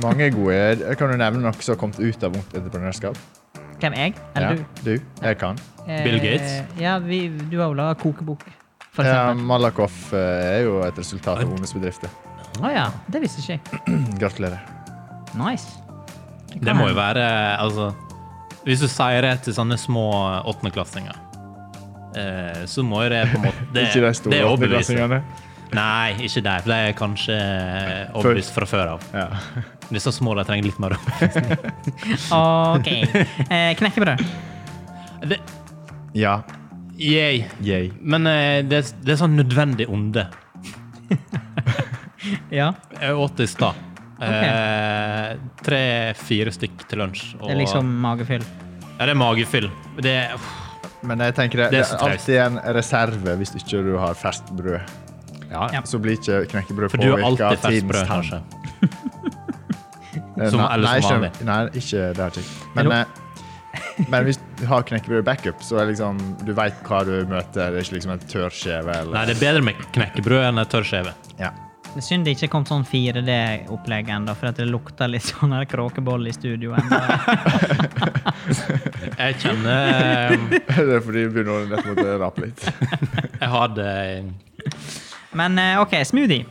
Mange er gode. Jeg Kan du nevne noe som har kommet ut av ungt entreprenørskap?
Hvem jeg?
Ja,
Eller du?
du? Jeg kan.
Eh,
Bill Gates?
Ja, vi, du har jo laga kokebok. for
Ja,
eksempel.
Malakoff eh, er jo et resultat av Unges bedrifter. Mm,
Å ja, det visste ikke jeg.
Gratulerer.
Nice.
Det må jo være Altså, hvis du sier det til sånne små åttendeklassinger, eh, så må jo det på en måte Det,
Ikke de
det
store
er overbevisende.
åttendeklassingene.
Nei, ikke de. For de er kanskje overbevist fra før av.
Ja.
Disse små de trenger litt mer rom.
OK. Eh, knekkebrød.
Det,
ja.
yay.
Yay.
Men eh, det, det er sånn nødvendig onde.
Ja.
Jeg åt det i stad. Eh, Tre-fire stykk til lunsj. og-
Det er liksom magefyll.
Ja, det er magefyll. Det er uff,
Men jeg tenker
Det
det, det
er
er
så traust.
alltid en reserve hvis ikke du har ferskt brød.
Ja.
Så blir ikke knekkebrød
For du har
påvirka
alltid
av
ferskt
tidens
brød,
tann.
kanskje.
Eh,
Som-
nei,
eller
nei,
som
ikke, nei, ikke det har jeg ikke. Men,
Jo.
eh, men hvis du har knekkebrød backup, så er liksom, du vet hva du møter. Det er ikke liksom en tørr skjeve. eller-
Nei, det er bedre med knekkebrød enn ei tørr skjeve.
Ja.
Det er synd det ikke kom sånn 4D-opplegg ennå, for at det lukter litt sånn her kråkeboll i studio ennå.
Jeg kjenner eh,
det er fordi du begynner å rett og slett rape litt.
Jeg har det
Men eh, OK, smoothie.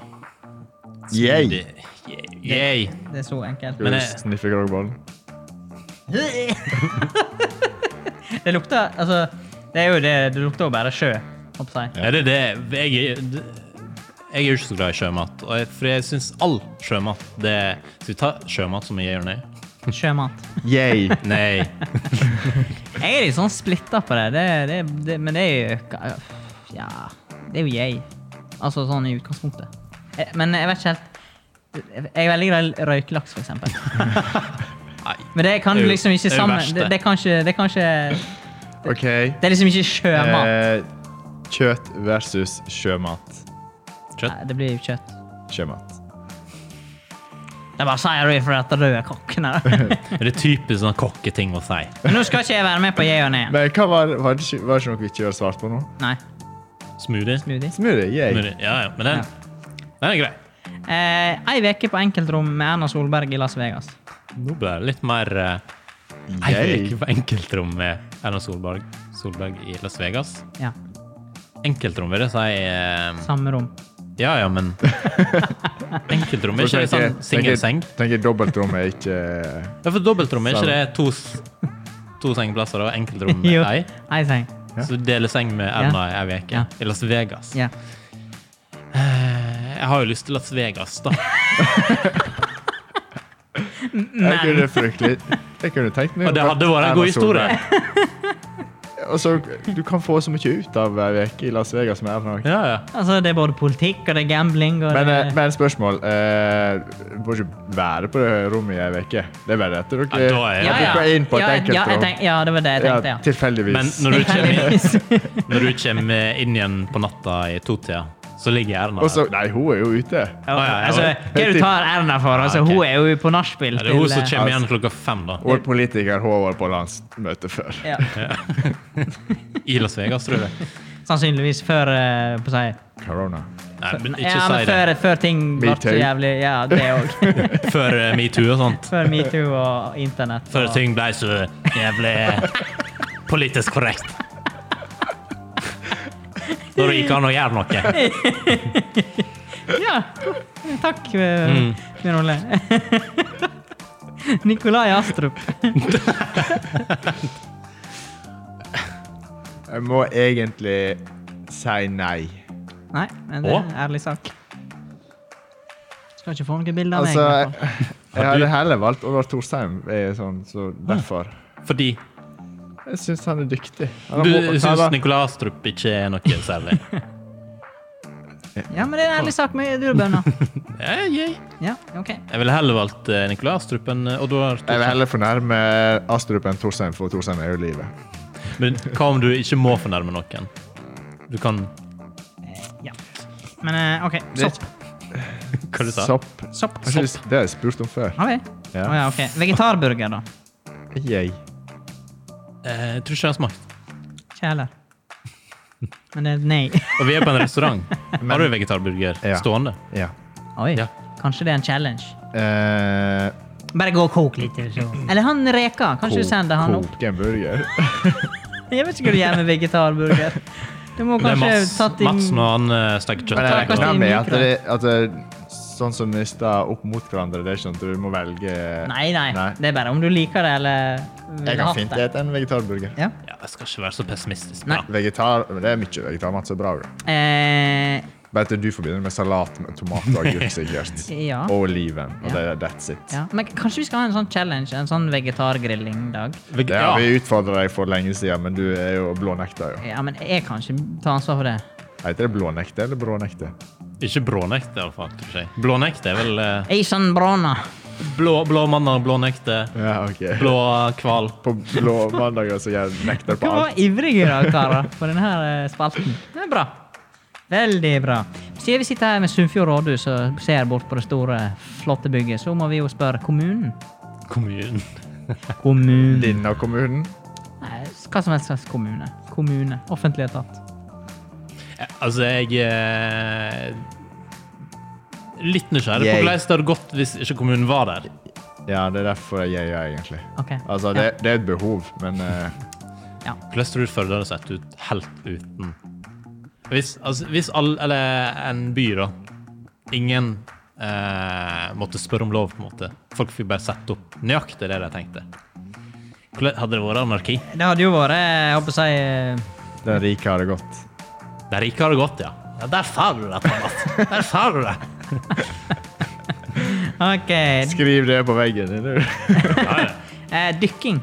Yay!
Det- Yay.
Det er så enkelt.
Skal
Men
du
jeg-
sniffe grogbollen?
det lukter Altså, det er jo det Det lukter jo bare sjø, håper jeg.
Er det det Jeg er jeg er jo ikke så glad i sjømat, og jeg, for jeg syns all sjømat det, Skal vi ta sjømat som jeg gjør nei?
Sjømat.
Yay!
Nei.
Jeg er litt sånn splitta på det. Det, det, det. Men det er jo ka- Ja. Det er jo jeg. Altså sånn i utgangspunktet. Eh, Men jeg vet ikke helt Jeg er veldig glad i røykelaks, for eksempel.
Nei.
Men det kan
Det
du
er jo-
liksom ikke
det er jo
sammen
verst, det.
det, det, kan ikke, det kan ikke
OK.
Det er liksom ikke sjømat.
Eh, kjøtt versus sjømat.
Nei, det blir jo kjøtt.
Sjømat.
Det er bare sier du for at røde kokken her.
Men Det er typisk sånn kokketing å si.
Men nå skal ikke jeg være med på jeg og nei.
Men hva var, var, det, ikke- var det ikke noe vi ikke har svart på nå?
Nei,
Smoothie.
smoothie.
Smoothie. Yay.
Smoothie. Ja, ja. Men den, den er grei.
Eh, ei uke på enkeltrom med Erna Solberg i Las Vegas.
Nå ble det litt mer eh, Jeg
Yay.
gikk på enkeltrom med Erna Solberg, Solberg i Las Vegas.
Ja,
Enkeltrom vil jeg si eh,
Samme rom.
Ja ja, men Enkeltrom er ikke det sånn singelseng?
Tenker dobbeltrom er ikke
Ja, for dobbeltrom er ikke det to, s- to sengeplasser og enkeltrom
Jo.
ei?
Ei seng.
Så du deler seng med Erna i ei uke
Ja.
i Las Vegas.
Ja.
Eh, Jeg har jo lyst til Las Vegas, da.
Jeg
Men
kunne fryktelig Jeg kunne tenkt meg
Og det
å
hadde vært en
Erna
god historie.
Solberg. Altså, du kan få så mye ut av ei uke i Las Vegas med Erna.
Ja, ja.
altså, det er både politikk og det er gambling og
Men,
det
eh, men spørsmål eh, Du må ikke være på det rommet i ei uke. Det er bare etter dere
Ja, da er-
ja,
dere
ja.
går inn på et
ja, ja, jeg
enkeltrom.
tenk, ja, det var det jeg
Ja,
tenkte, ja.
tilfeldigvis.
Men når du kommer, når du kommer inn igjen på natta i totida, så ligger Erna
Og så
der.
Nei, hun er jo ute.
Ja,
ja, ja,
altså,
ja.
hva du tar Erna for? Altså,
Ja, ok.
Hun er jo på nachspiel.
Ja, Det er hun
til,
som
eh,
kommer igjen klokka fem, da.
Og politiker hun har vært på landsmøte før.
eh, ja,
I Las Vegas, tror jeg.
Sannsynligvis før eh, på seg.
Corona.
Nei, men ikke
Ja, men
si det.
før, før ting ble så
Metoo.
jævlig Ja, det òg.
Før eh, metoo og sånt.
før metoo og internett.
Før
og-
ting ble så jævlig politisk korrekt. Når det gikk an å gjøre noe.
Ja. Takk, eh,
Mm.
Bjørn Ole. Nikolai Astrup.
Jeg må egentlig si nei.
Nei, men det er en
Å?
ærlig sak. Skal ikke få noen bilder av meg. i
Altså,
hvert fall.
jeg, jeg hadde heller valgt Oddvar Thorsheim, er sånn, så derfor.
Fordi
Jeg syns han er dyktig. Han
du
har må- han
syns
har-
Nikolai Astrup ikke er noe særlig.
Ja, men det er en ærlig sak med durbønner.
Ja, jeg,
Ja, OK.
jeg ville heller valgt eh, Nikolai Astrup enn eh, Oddvar
Jeg vil
Thorsen.
heller fornærme Astrup enn Thorsheim, for Thorsheim er jo livet. Eh.
Men hva om du ikke må fornærme noen? Du kan
Ja. Men eh, OK. Sopp.
Hva du sa du?
Sopp.
Sopp.
Jeg synes- Det har jeg spurt om før.
Har vi? Å
Ja.
ja, OK. Vegetarburger, da.
Yay.
Eh, Jeg tror ikke jeg har smakt.
Ikke heller. Men det er et nei.
Og vi er på en restaurant. Har du vegetarburger
Ja.
stående?
Ja.
Oi.
Ja.
Kanskje det er en challenge.
Eh,
Bare gå og kok litt. Så. Eller han reka. Kanskje du sender han opp?
Koke en burger.
Jeg vet ikke hva du gjør med vegetarburger. Du må
Det er
kanskje
Mats,
tatt i
Mats når han eh, steker
Men jeg
Takk,
kjøtt.
Martin.
regner med at
Mikro.
det, at det Sånn som vi står opp mot hverandre, det er ikke sånn at du må velge
Nei, nei,
Nei.
Det er bare om du liker det eller vil
Jeg
ha
kan fint
det.
spise en vegetarburger.
Ja.
Ja, jeg skal ikke være så pessimistisk.
Nei.
Ja.
Vegetar, men det er mye vegetarmat som er bra. da.
Eh,
Bare at du forbinder det med salat med tomat og agurk, sikkert.
Ja.
Og oliven. Og
Ja.
det, er- that's it.
ja. Men kanskje vi skal ha en sånn challenge, en sånn vegetargrilling-dag.
Veg-
Det har
ja.
vi utfordra deg for lenge siden, men du er jo blånekta. jo.
Ja, men jeg kan ikke ta ansvar for det.
Heter det blånekte eller brånekte?
Ikke brånekte, iallfall. tror jeg. Blånekte er vel eh,
Eisan Brana.
blå, blå mandag, blånekte,
Ja, ok.
blå hval.
På blå mandager så jeg nekter på
Dere
alt.
var ivrige i dag, karer, på denne her eh, spalten. Det er bra. Veldig bra. Siden vi sitter her med Sunnfjord rådhus og ser bort på det store, flotte bygget, så må vi jo spørre kommunen.
Kommunen.
Kommunen.
Denne kommunen.
Nei, hva som helst slags kommune. Kommune. Offentlig etat.
Ja, Altså, jeg eh, Litt nysgjerrig på
Jeg-
hvordan det hadde gått hvis ikke kommunen var der.
Ja, det er derfor jeg gjør det, egentlig.
Ok.
Altså, det, det er et behov, men eh,
Hvordan tror du Førde hadde sett ut helt uten Hvis, altså, hvis all, eller en by, da Ingen eh, måtte spørre om lov, på en måte. Folk fikk bare sette opp nøyaktig det de tenkte. Hvordan, hadde det vært anarki?
Det hadde jo vært Jeg håper å si eh,
den rike har det godt.
Der ikke har det gått, ja. ja der sa du det, Thomas. Der sa du det.
OK.
Skriv det på veggen. er det-
Ja, ja.
Eh, dykking.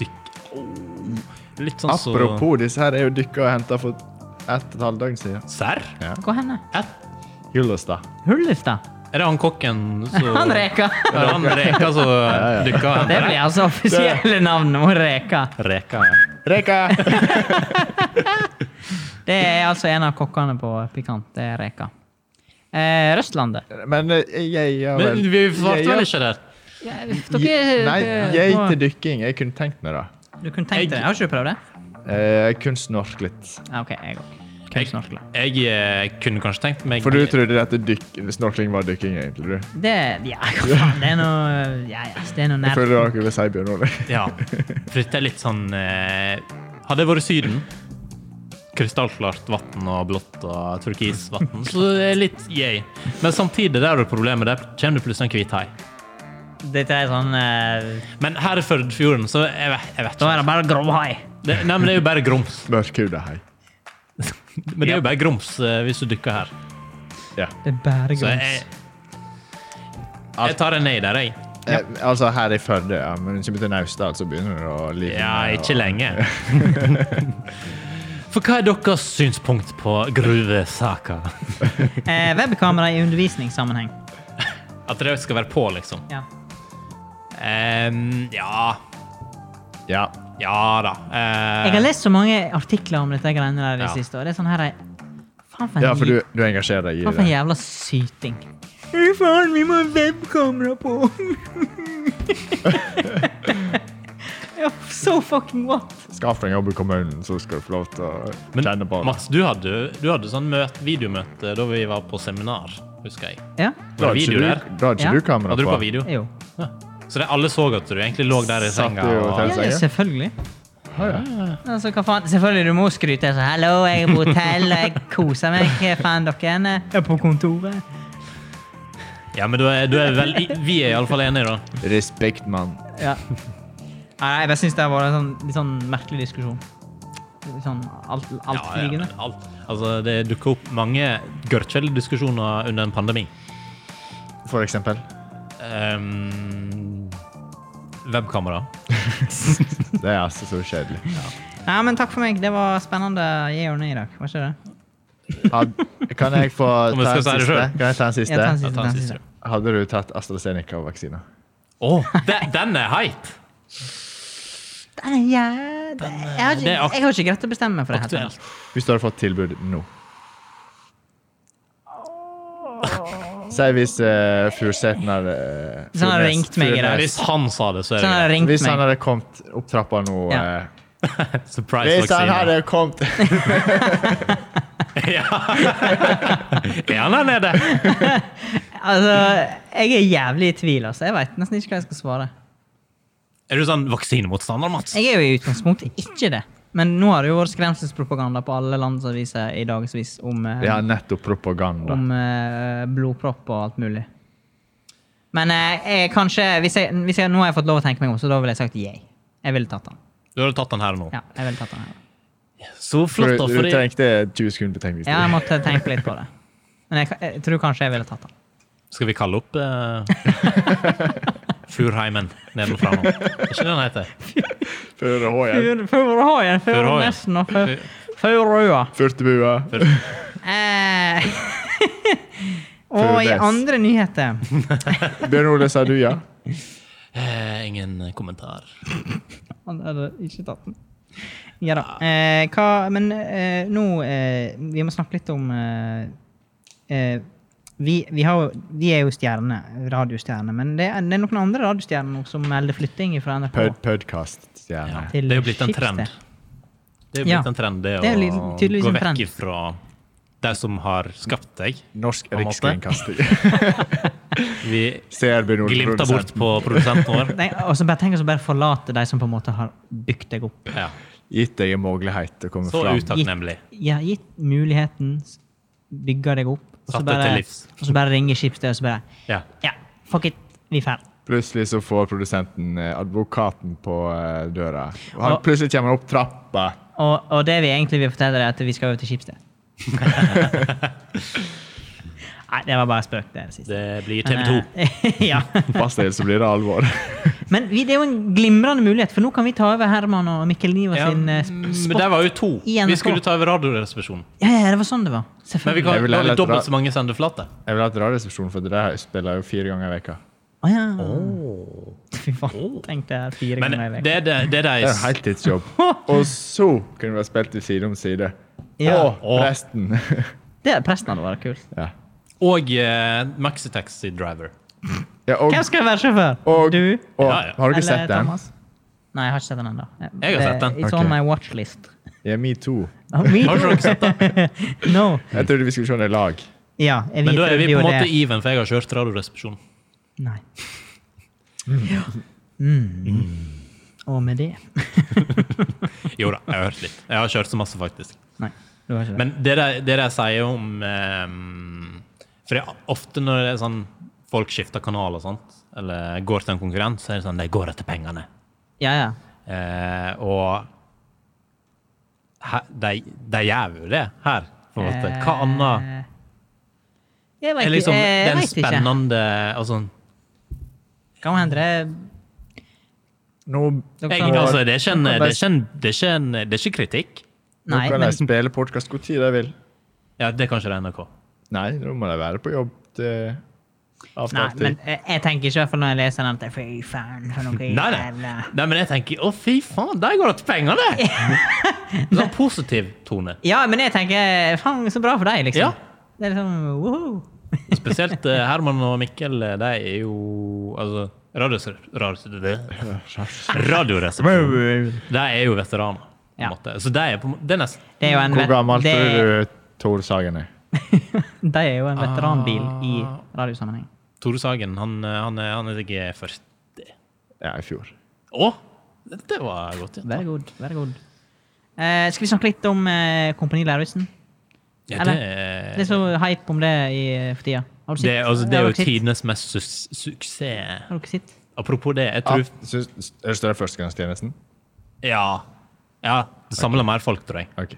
Dykk. Åh. Litt sånn så
Apropos, disse her er jo dykka og henta for ett og et halvt døgn siden.
Serr?
Hvor henne?
Et-
Hyllestad.
Hullestad.
Er det han kokken som
Han Reka.
Er det han Reka som dykka?
Det blir altså offisielle navn nå, Reka.
Reka, ja.
Reka!
Det er altså en av kokkene på Pikant. Det er Reka. Eh, Røstlandet.
Men eh, jeg gjør vel
Men vi svarte
jeg gjør-
vel ikke der?
Ja,
Je-
dere-
Nei,
dere-
jeg til dykking. Jeg kunne tenkt meg det.
Du kunne tenkt deg det. Har ikke du prøvd det?
Eh, Jeg kunne snorke litt.
Ja, OK, jeg òg.
Jeg, jeg eh, kunne kanskje tenkt meg
For du trodde at dykk, snorkling var dykking, egentlig? du?
Det Ja, hva faen, det er noe Ja, ja, det er noe
Jeg
nært.
føler dere vil si Bjørn Ole.
Ja. For dette er litt sånn eh, Hadde jeg vært i Syden, krystallklart vann og blått og turkis vann, så det er litt yay. Men samtidig, der er det problemet. Der kommer det plutselig en hvit hai.
Dette er sånn eh,
Men her i Førdefjorden, så jeg, vet- jeg
Da
vet ikke.
er det bare grovhai.
Det, nei, men det er jo bare grums.
Mørkhuda, hei.
Men det er jo bare grums eh, hvis du dykker her.
Ja.
Det er bare
Så jeg,
grums.
jeg tar en nei der, jeg.
Eh, altså her i Førde, ja. Men når du kommer til Naustdal, så begynner du å live
Ja, ikke lenge. For hva er deres synspunkt på gruvesaka?
Eh, webkamera i undervisningssammenheng.
At det skal være på, liksom?
Ja.
Ehm, ja
Ja.
Ja da. Eh,
Jeg har lest så mange artikler om dette greiene der i det
Ja.
siste, og det er sånn her Faen for en,
ja, for du,
jæv-
du engasjerer deg
faen
i
for en
det.
jævla syting. Fy faen, vi må ha webkamera på! ja, so fucking what?
Skaff deg en jobb i kommunen, så skal du få lov til å
men
kjenne på det.
Mats, du hadde, du hadde sånn møt, videomøte da vi var på seminar, husker jeg.
Ja,
Var
Da hadde
det video der?
ikke du, da hadde
Ja.
ikke du kamera
Hadde du på
på.
video?
jo.
Så det, alle så at du egentlig lå der i
Satt
senga.
i
Og,
hotell.
Ja, ja, selvfølgelig.
Ah, ja.
Altså, hva faen? Selvfølgelig, du må skryte. Så, 'Hallo, jeg er på hotell, og jeg koser meg.' Hva faen, dere? Jeg er på kontoret.
ja, men du er, du er vel, vi er iallfall enige, da.
Respekt, mann.
Ja. Nei, jeg bare syns det har vært en sånn, litt sånn merkelig diskusjon. Litt Sånn alt- altflygende.
Ja, ja, alt. Altså, det dukker opp mange gørrkjelediskusjoner under en pandemi.
For eksempel.
Ehm, webkamera.
Det er altså så kjedelig.
Nei, men takk for meg. Det var spennende gi og nei i dag. Var ikke det?
Had- Kan jeg få
Om jeg
ta
skal si
en
det
siste?
selv.
Kan jeg ta en
Ja, ta en siste.
siste?
Jeg tar den siste.
Hadde du tatt AstraZeneca-vaksina?
Å, de- den er heit!
Den er jæ- Ah, det- Jeg har ikke,
eh, det er ak-
jeg har ikke greit å bestemme meg for det. helt
Aktuelt.
Hvis du hadde fått tilbud nå? Si hvis uh, Furseten hadde eh,
Hvis han hadde
Furnes-
ringt meg i dag.
Ja,
Furnes-
Hvis han sa det, så Sånn er
Så han har
det
ringt
Hvis han
meg.
hadde kommet opp trappa nå
Ja.
eh,
greit. Surprise
Hvis han
vaksine.
hadde kommet
Ja. Er han der nede?
Altså, jeg er jævlig i tvil, altså. Jeg vet nesten ikke hva jeg skal svare.
Er du sånn vaksinemotstander, Mats?
Jeg er jo i utgangspunktet ikke det. Men nå har det jo vært skremselspropaganda på alle landsaviser i dagevis om, eh,
Det er nettopp propaganda.
Mm.
om eh, blodpropp og alt mulig. Men eh, jeg, kanskje hvis jeg, hvis jeg, Nå har jeg fått lov å tenke meg om, så da ville jeg sagt yay. Jeg ville tatt den.
Du hadde tatt den her nå.
Ja, jeg ville tatt den her.
Så flott, da.
For du,
For
du
jeg
tenkte 20 sekunder på tenkning.
Ja, jeg måtte tenke litt på det. Men jeg, ka- jeg tror kanskje jeg ville tatt den.
Skal vi kalle opp uh, Furheimen nedenfra nå? Er ikke det den heter?
Før H igjen.
Furuhøyen,
Furuhøyen.
Furunesen og Fu- Furua.
Furtebua.
Eh, Og i
Furunes.
andre nyheter
Bjørn Ole, sa du ja?
Eh, ingen kommentar.
Han hadde ikke tatt den. Ja da. Eh, hva, men eh, nå eh, Vi må snakke litt om eh, eh, vi, vi, har, jo- vi er jo stjerner, radiostjerner, men det er, det er noen andre radiostjerner nå som melder flytting fra NRK.
Pod Podkast-stjerne.
til
Det er jo blitt en
Schibsted.
trend. Det er jo blitt
Ja.
en trend, det,
Det er jo
å
litt- tydeligvis
gå
en
vekk
trend.
ifra de som har skapt deg.
Norsk
På en måte.
rikskringkasting.
Vi
Ser Bjørn Ole
glimter bort
produsenten.
på produsenten vår.
Nei, Og så bare tenk oss å bare forlate de som på en måte har bygd deg opp.
Ja.
Gitt deg en mulighet til å komme
Så
fram.
utakknemlig.
Ja, gitt muligheten, s- bygger deg opp, og så
Satt det til
bare,
livs.
og så bare ringer Schibsted og så bare
Ja.
Ja, fuck it, vi er ferdig.
Plutselig så får produsenten eh, advokaten på eh, døra. Og han
Og-
plutselig kommer han opp trappa.
Og, og det vi egentlig vil fortelle, er at vi skal over til Schibsted. Nei, det var bare spøk, det siste.
Det blir
Men,
TV
eh,
2.
ja.
Pass deg, så blir det alvor.
Men vi, det er jo en glimrende mulighet, for nå kan vi ta over Herman og Mikkel Niva
Ja, mm,
sin eh,
men
sp-
der
spot.
var jo to.
i NRK.
Vi skulle ta over Radioresepsjonen.
Ja, ja, det var sånn det var.
Men vi
Selvfølgelig.
kan
Jeg vil
lage
heller dra-
dobbelt så mange sendeflater.
Jeg vil ha et radioresepsjon, for det der spiller jeg jo fire ganger i veka.
Å ja. Fy faen, tenk det her fire
Men
ganger i
det
veka.
er det, det er
Det er en
de
heltidsjobb. Og så kunne vi ha spilt i Side om side.
Ja.
Og resten.
Det er presten hadde vært kult.
ja.
Og eh, Maxitaxi Driver.
ja, og,
Hvem skal være sjåfør?
og,
du?
og
Ja, ja.
Har du
Eller
ikke sett den?
Thomas? Nei, jeg har ikke sett den ennå.
Jeg har sett den.
It's
Ok.
on my watchlist.
Ja, me too.
Oh, me
Har
too.
dere sett det?
No.
Jeg trodde vi skulle se den i lag.
Ja, jeg
Men da er
trodde
vi på
jo
en måte
det.
even, for jeg har kjørt Radioresepsjonen.
Nei. Ja. Mm. Og med det
Jo da, jeg har hørt litt. Jeg har kjørt så masse, faktisk.
Nei, du har ikke det.
Men det de, det de sier om eh, For det, er ofte når det er sånn folk skifter kanal og sånt, eller går til en konkurrent, så er det sånn de går etter pengene.
Ja, ja.
Eh, og he- de, de gjør jo det her, på en måte. Hva annet
Eh, Jeg
er
vet
liksom
ikke. Jeg
den
vet ikke.
spennende altså,
Kan hende
Nå,
det
jeg, altså, det, er ikke en,
Nå
det,
kan de-
er ikke en, det er ikke en Det er ikke kritikk.
nå
Nei,
kan
men
de spille podkast hvor tid de vil.
Ja, det kan ikke det er NRK.
Nei, nå må de være på jobb til
Nei, men
avtaltid.
eh, jeg tenker ikke i hvert fall når jeg leser den at jeg- Fy faen, for noe
Nei, nei.
jævla
nei, men jeg tenker Å, fy faen, der går det til penger, det! Sånn positiv tone.
Ja, men jeg tenker Faen, så bra for deg, liksom.
Ja.
Det er liksom woho.
Spesielt eh, Herman og Mikkel, eh, de er jo Altså, radios- radios- det- Radioresepsjonen. De er jo veteraner. På
Ja.
en måte. Så de er på en måte- det er nesten
Det er jo en
Hvor
vet-
gammel
det-
tror du Tor Sagen er?
De er jo en veteranbil
Ah.
i radiosammenheng.
Tore Sagen, han, eh, han, er- han er ikke 40.
Ja, i fjor.
Å! Det var godt. Ja,
Very good. very good. Eh, skal vi snakke litt om eh, Kompani Lauritzen?
ja det, er-
Det er så hype om det i, eh, for tida. Har du sett?
Eh. det, er- altså, det er
Har
jo
dere sett?
tidenes mest su suksess.
Har dere sett?
Apropos det, jeg
Ja,
tror
syns- Syns du det er førstegangstjenesten?
Ja. ja det samler mer folk, tror jeg.
Ok.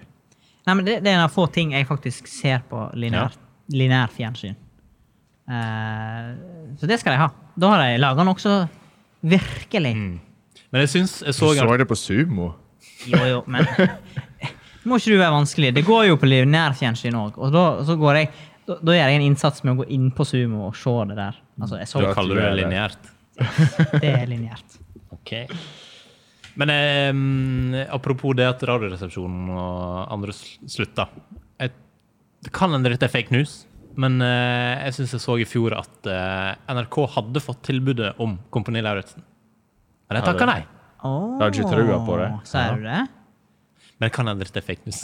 Nei, men det, det er en av få ting jeg faktisk ser på linær, linær fjernsyn. Eh, så det skal de ha. Da har de laga den også virkelig.
Men jeg syns jeg
Du
så,
så det på Sumo.
Jo, jo, men Må ikke du være vanskelig. Det går jo på linær fjernsyn òg. Og da, så går jeg, da, da gjør jeg en innsats med å gå inn på Sumo og se det der. Altså, jeg så
Da kaller du det lineært.
Det er lineært.
Ok. Men eh, apropos det at Radioresepsjonen og andre sl- slutta Jeg- Det kan hende dette er fake news, men eh, jeg syns jeg så i fjor at eh, NRK hadde fått tilbudet om Kompani Lauritzen. Men jeg
Ja,
takka nei.
det-
Oh,
Da har du ikke trua på det.
Sier du det?
Men det kan hende dette er fake news.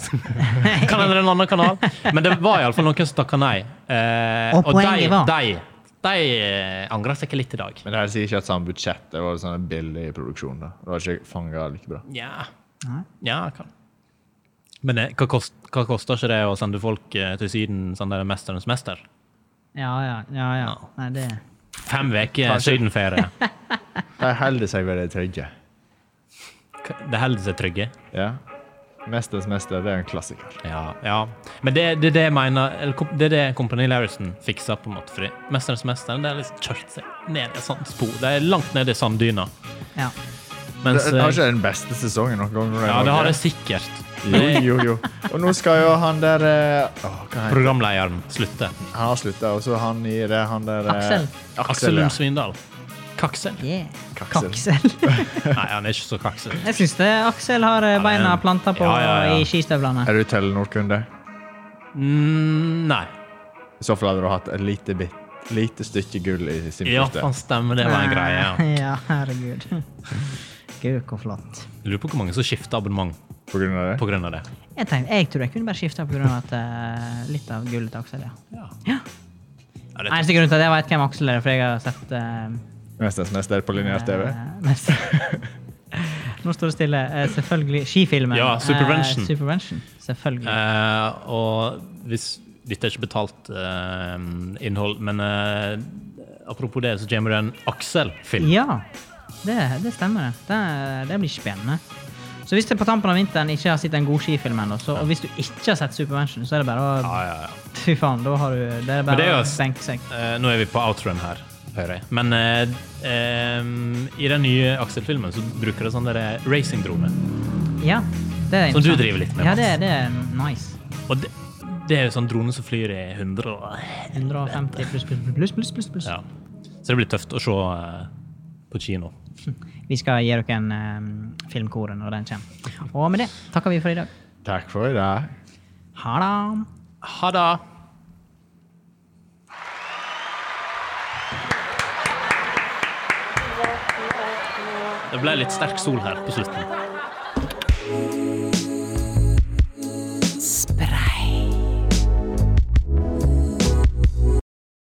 kan hende det er en annen kanal. Men det var iallfall noen som takka nei. Eh,
Og
de,
poenget var?
de, de eh, angrer seg ikke litt i dag.
Men det her sier ikke at samme budsjett. Det var sånn en billig produksjon. da. Det var ikke fanget like bra.
Nja
Nei.
ja, kan. Men det, hva, kost, hva koster ikke det å sende folk eh, til Syden sånn der Mesterens mester?
Ja, ja. ja, ja.
Ja.
Nei, det
Fem uker sydenferie.
De holder seg ved det trygge.
Det holder seg trygge.
Ja. Mesterens mester, det er en klassiker.
Ja, ja. Men det det er det jeg mener eller, kom- Det er det Kompani Lauritzen fikser, på en måte. Fordi Mesterens mester det er liksom kjørt seg ned i et sånt spor. Det er langt ned i sanddyna.
Ja.
Mens,
det, det har
eh,
ikke den beste sesongen noen gang.
ja, det har det sikkert.
Jo, jo, jo. Og nå skal jo han der eh, åh, hva heter han?
Programlederen slutter.
Han har slutta, og så han i det han der eh,
Aksel.
Aksel
Aksel, ja.
Lund Svindal. Kaksel?
Yeah.
Kaksel.
Kaksel.
Nei, han er ikke så kaksel.
Jeg syns det Aksel har eh,
det er
beina
en-
planta på
Ja, ja, ja.
i skistøvlene.
Er du Telenor-kunde?
Mm, nei.
I så fall hadde du hatt et lite, bit, lite stykke gull i
Ja,
simkortet.
faen stemmer, det var en greie. ja.
Ja, herregud. Gud, hvor flott.
Lurer på hvor mange som skifter abonnement
På grunn av det.
pga. det.
Jeg, tenkte, jeg tror jeg kunne bare skifta pga. Uh, litt av gullet til Aksel, ja.
Ja.
ja.
Ja, det,
Eneste grunn til at jeg vet hvem Aksel er, for jeg har sett eh,
Mesterens mester på linjær TV.
Eh, mest- Nå står det stille. Eh, selvfølgelig skifilmen.
Ja,
Eh,
Supervention.
Supervention, Selvfølgelig.
Eh, og hvis dette er ikke betalt eh, innhold, men eh, apropos det, så kommer det en Aksel-film.
Ja, det, det stemmer. det. det. Det blir spennende. Så hvis du på tampen av vinteren ikke har sett en god skifilm ennå, så- og hvis du ikke har sett Supervention, så er det bare å
Ja, ja, ja.
Fy faen, da har du Det er
Men det
bare
er
å
jo-
benke seg.
Eh, nå er vi på outroen her, hører jeg. Men eh, em, i den nye Aksel-filmen så bruker det sånn der racing-drone.
Ja, det er
Som du
interessant.
driver litt med,
Ja,
Mats.
det, det er nice.
Og det, det er jo sånn drone som flyr i 100 og
150 pluss, pluss, pluss, pluss. pluss.
ja. Så det blir tøft å se eh, på kino.
Vi skal gi dere en eh, filmkore når den kommer. Og med det takker vi for i dag.
Takk for i dag.
Ha det.
Ha det! Det ble litt sterk sol her på slutten.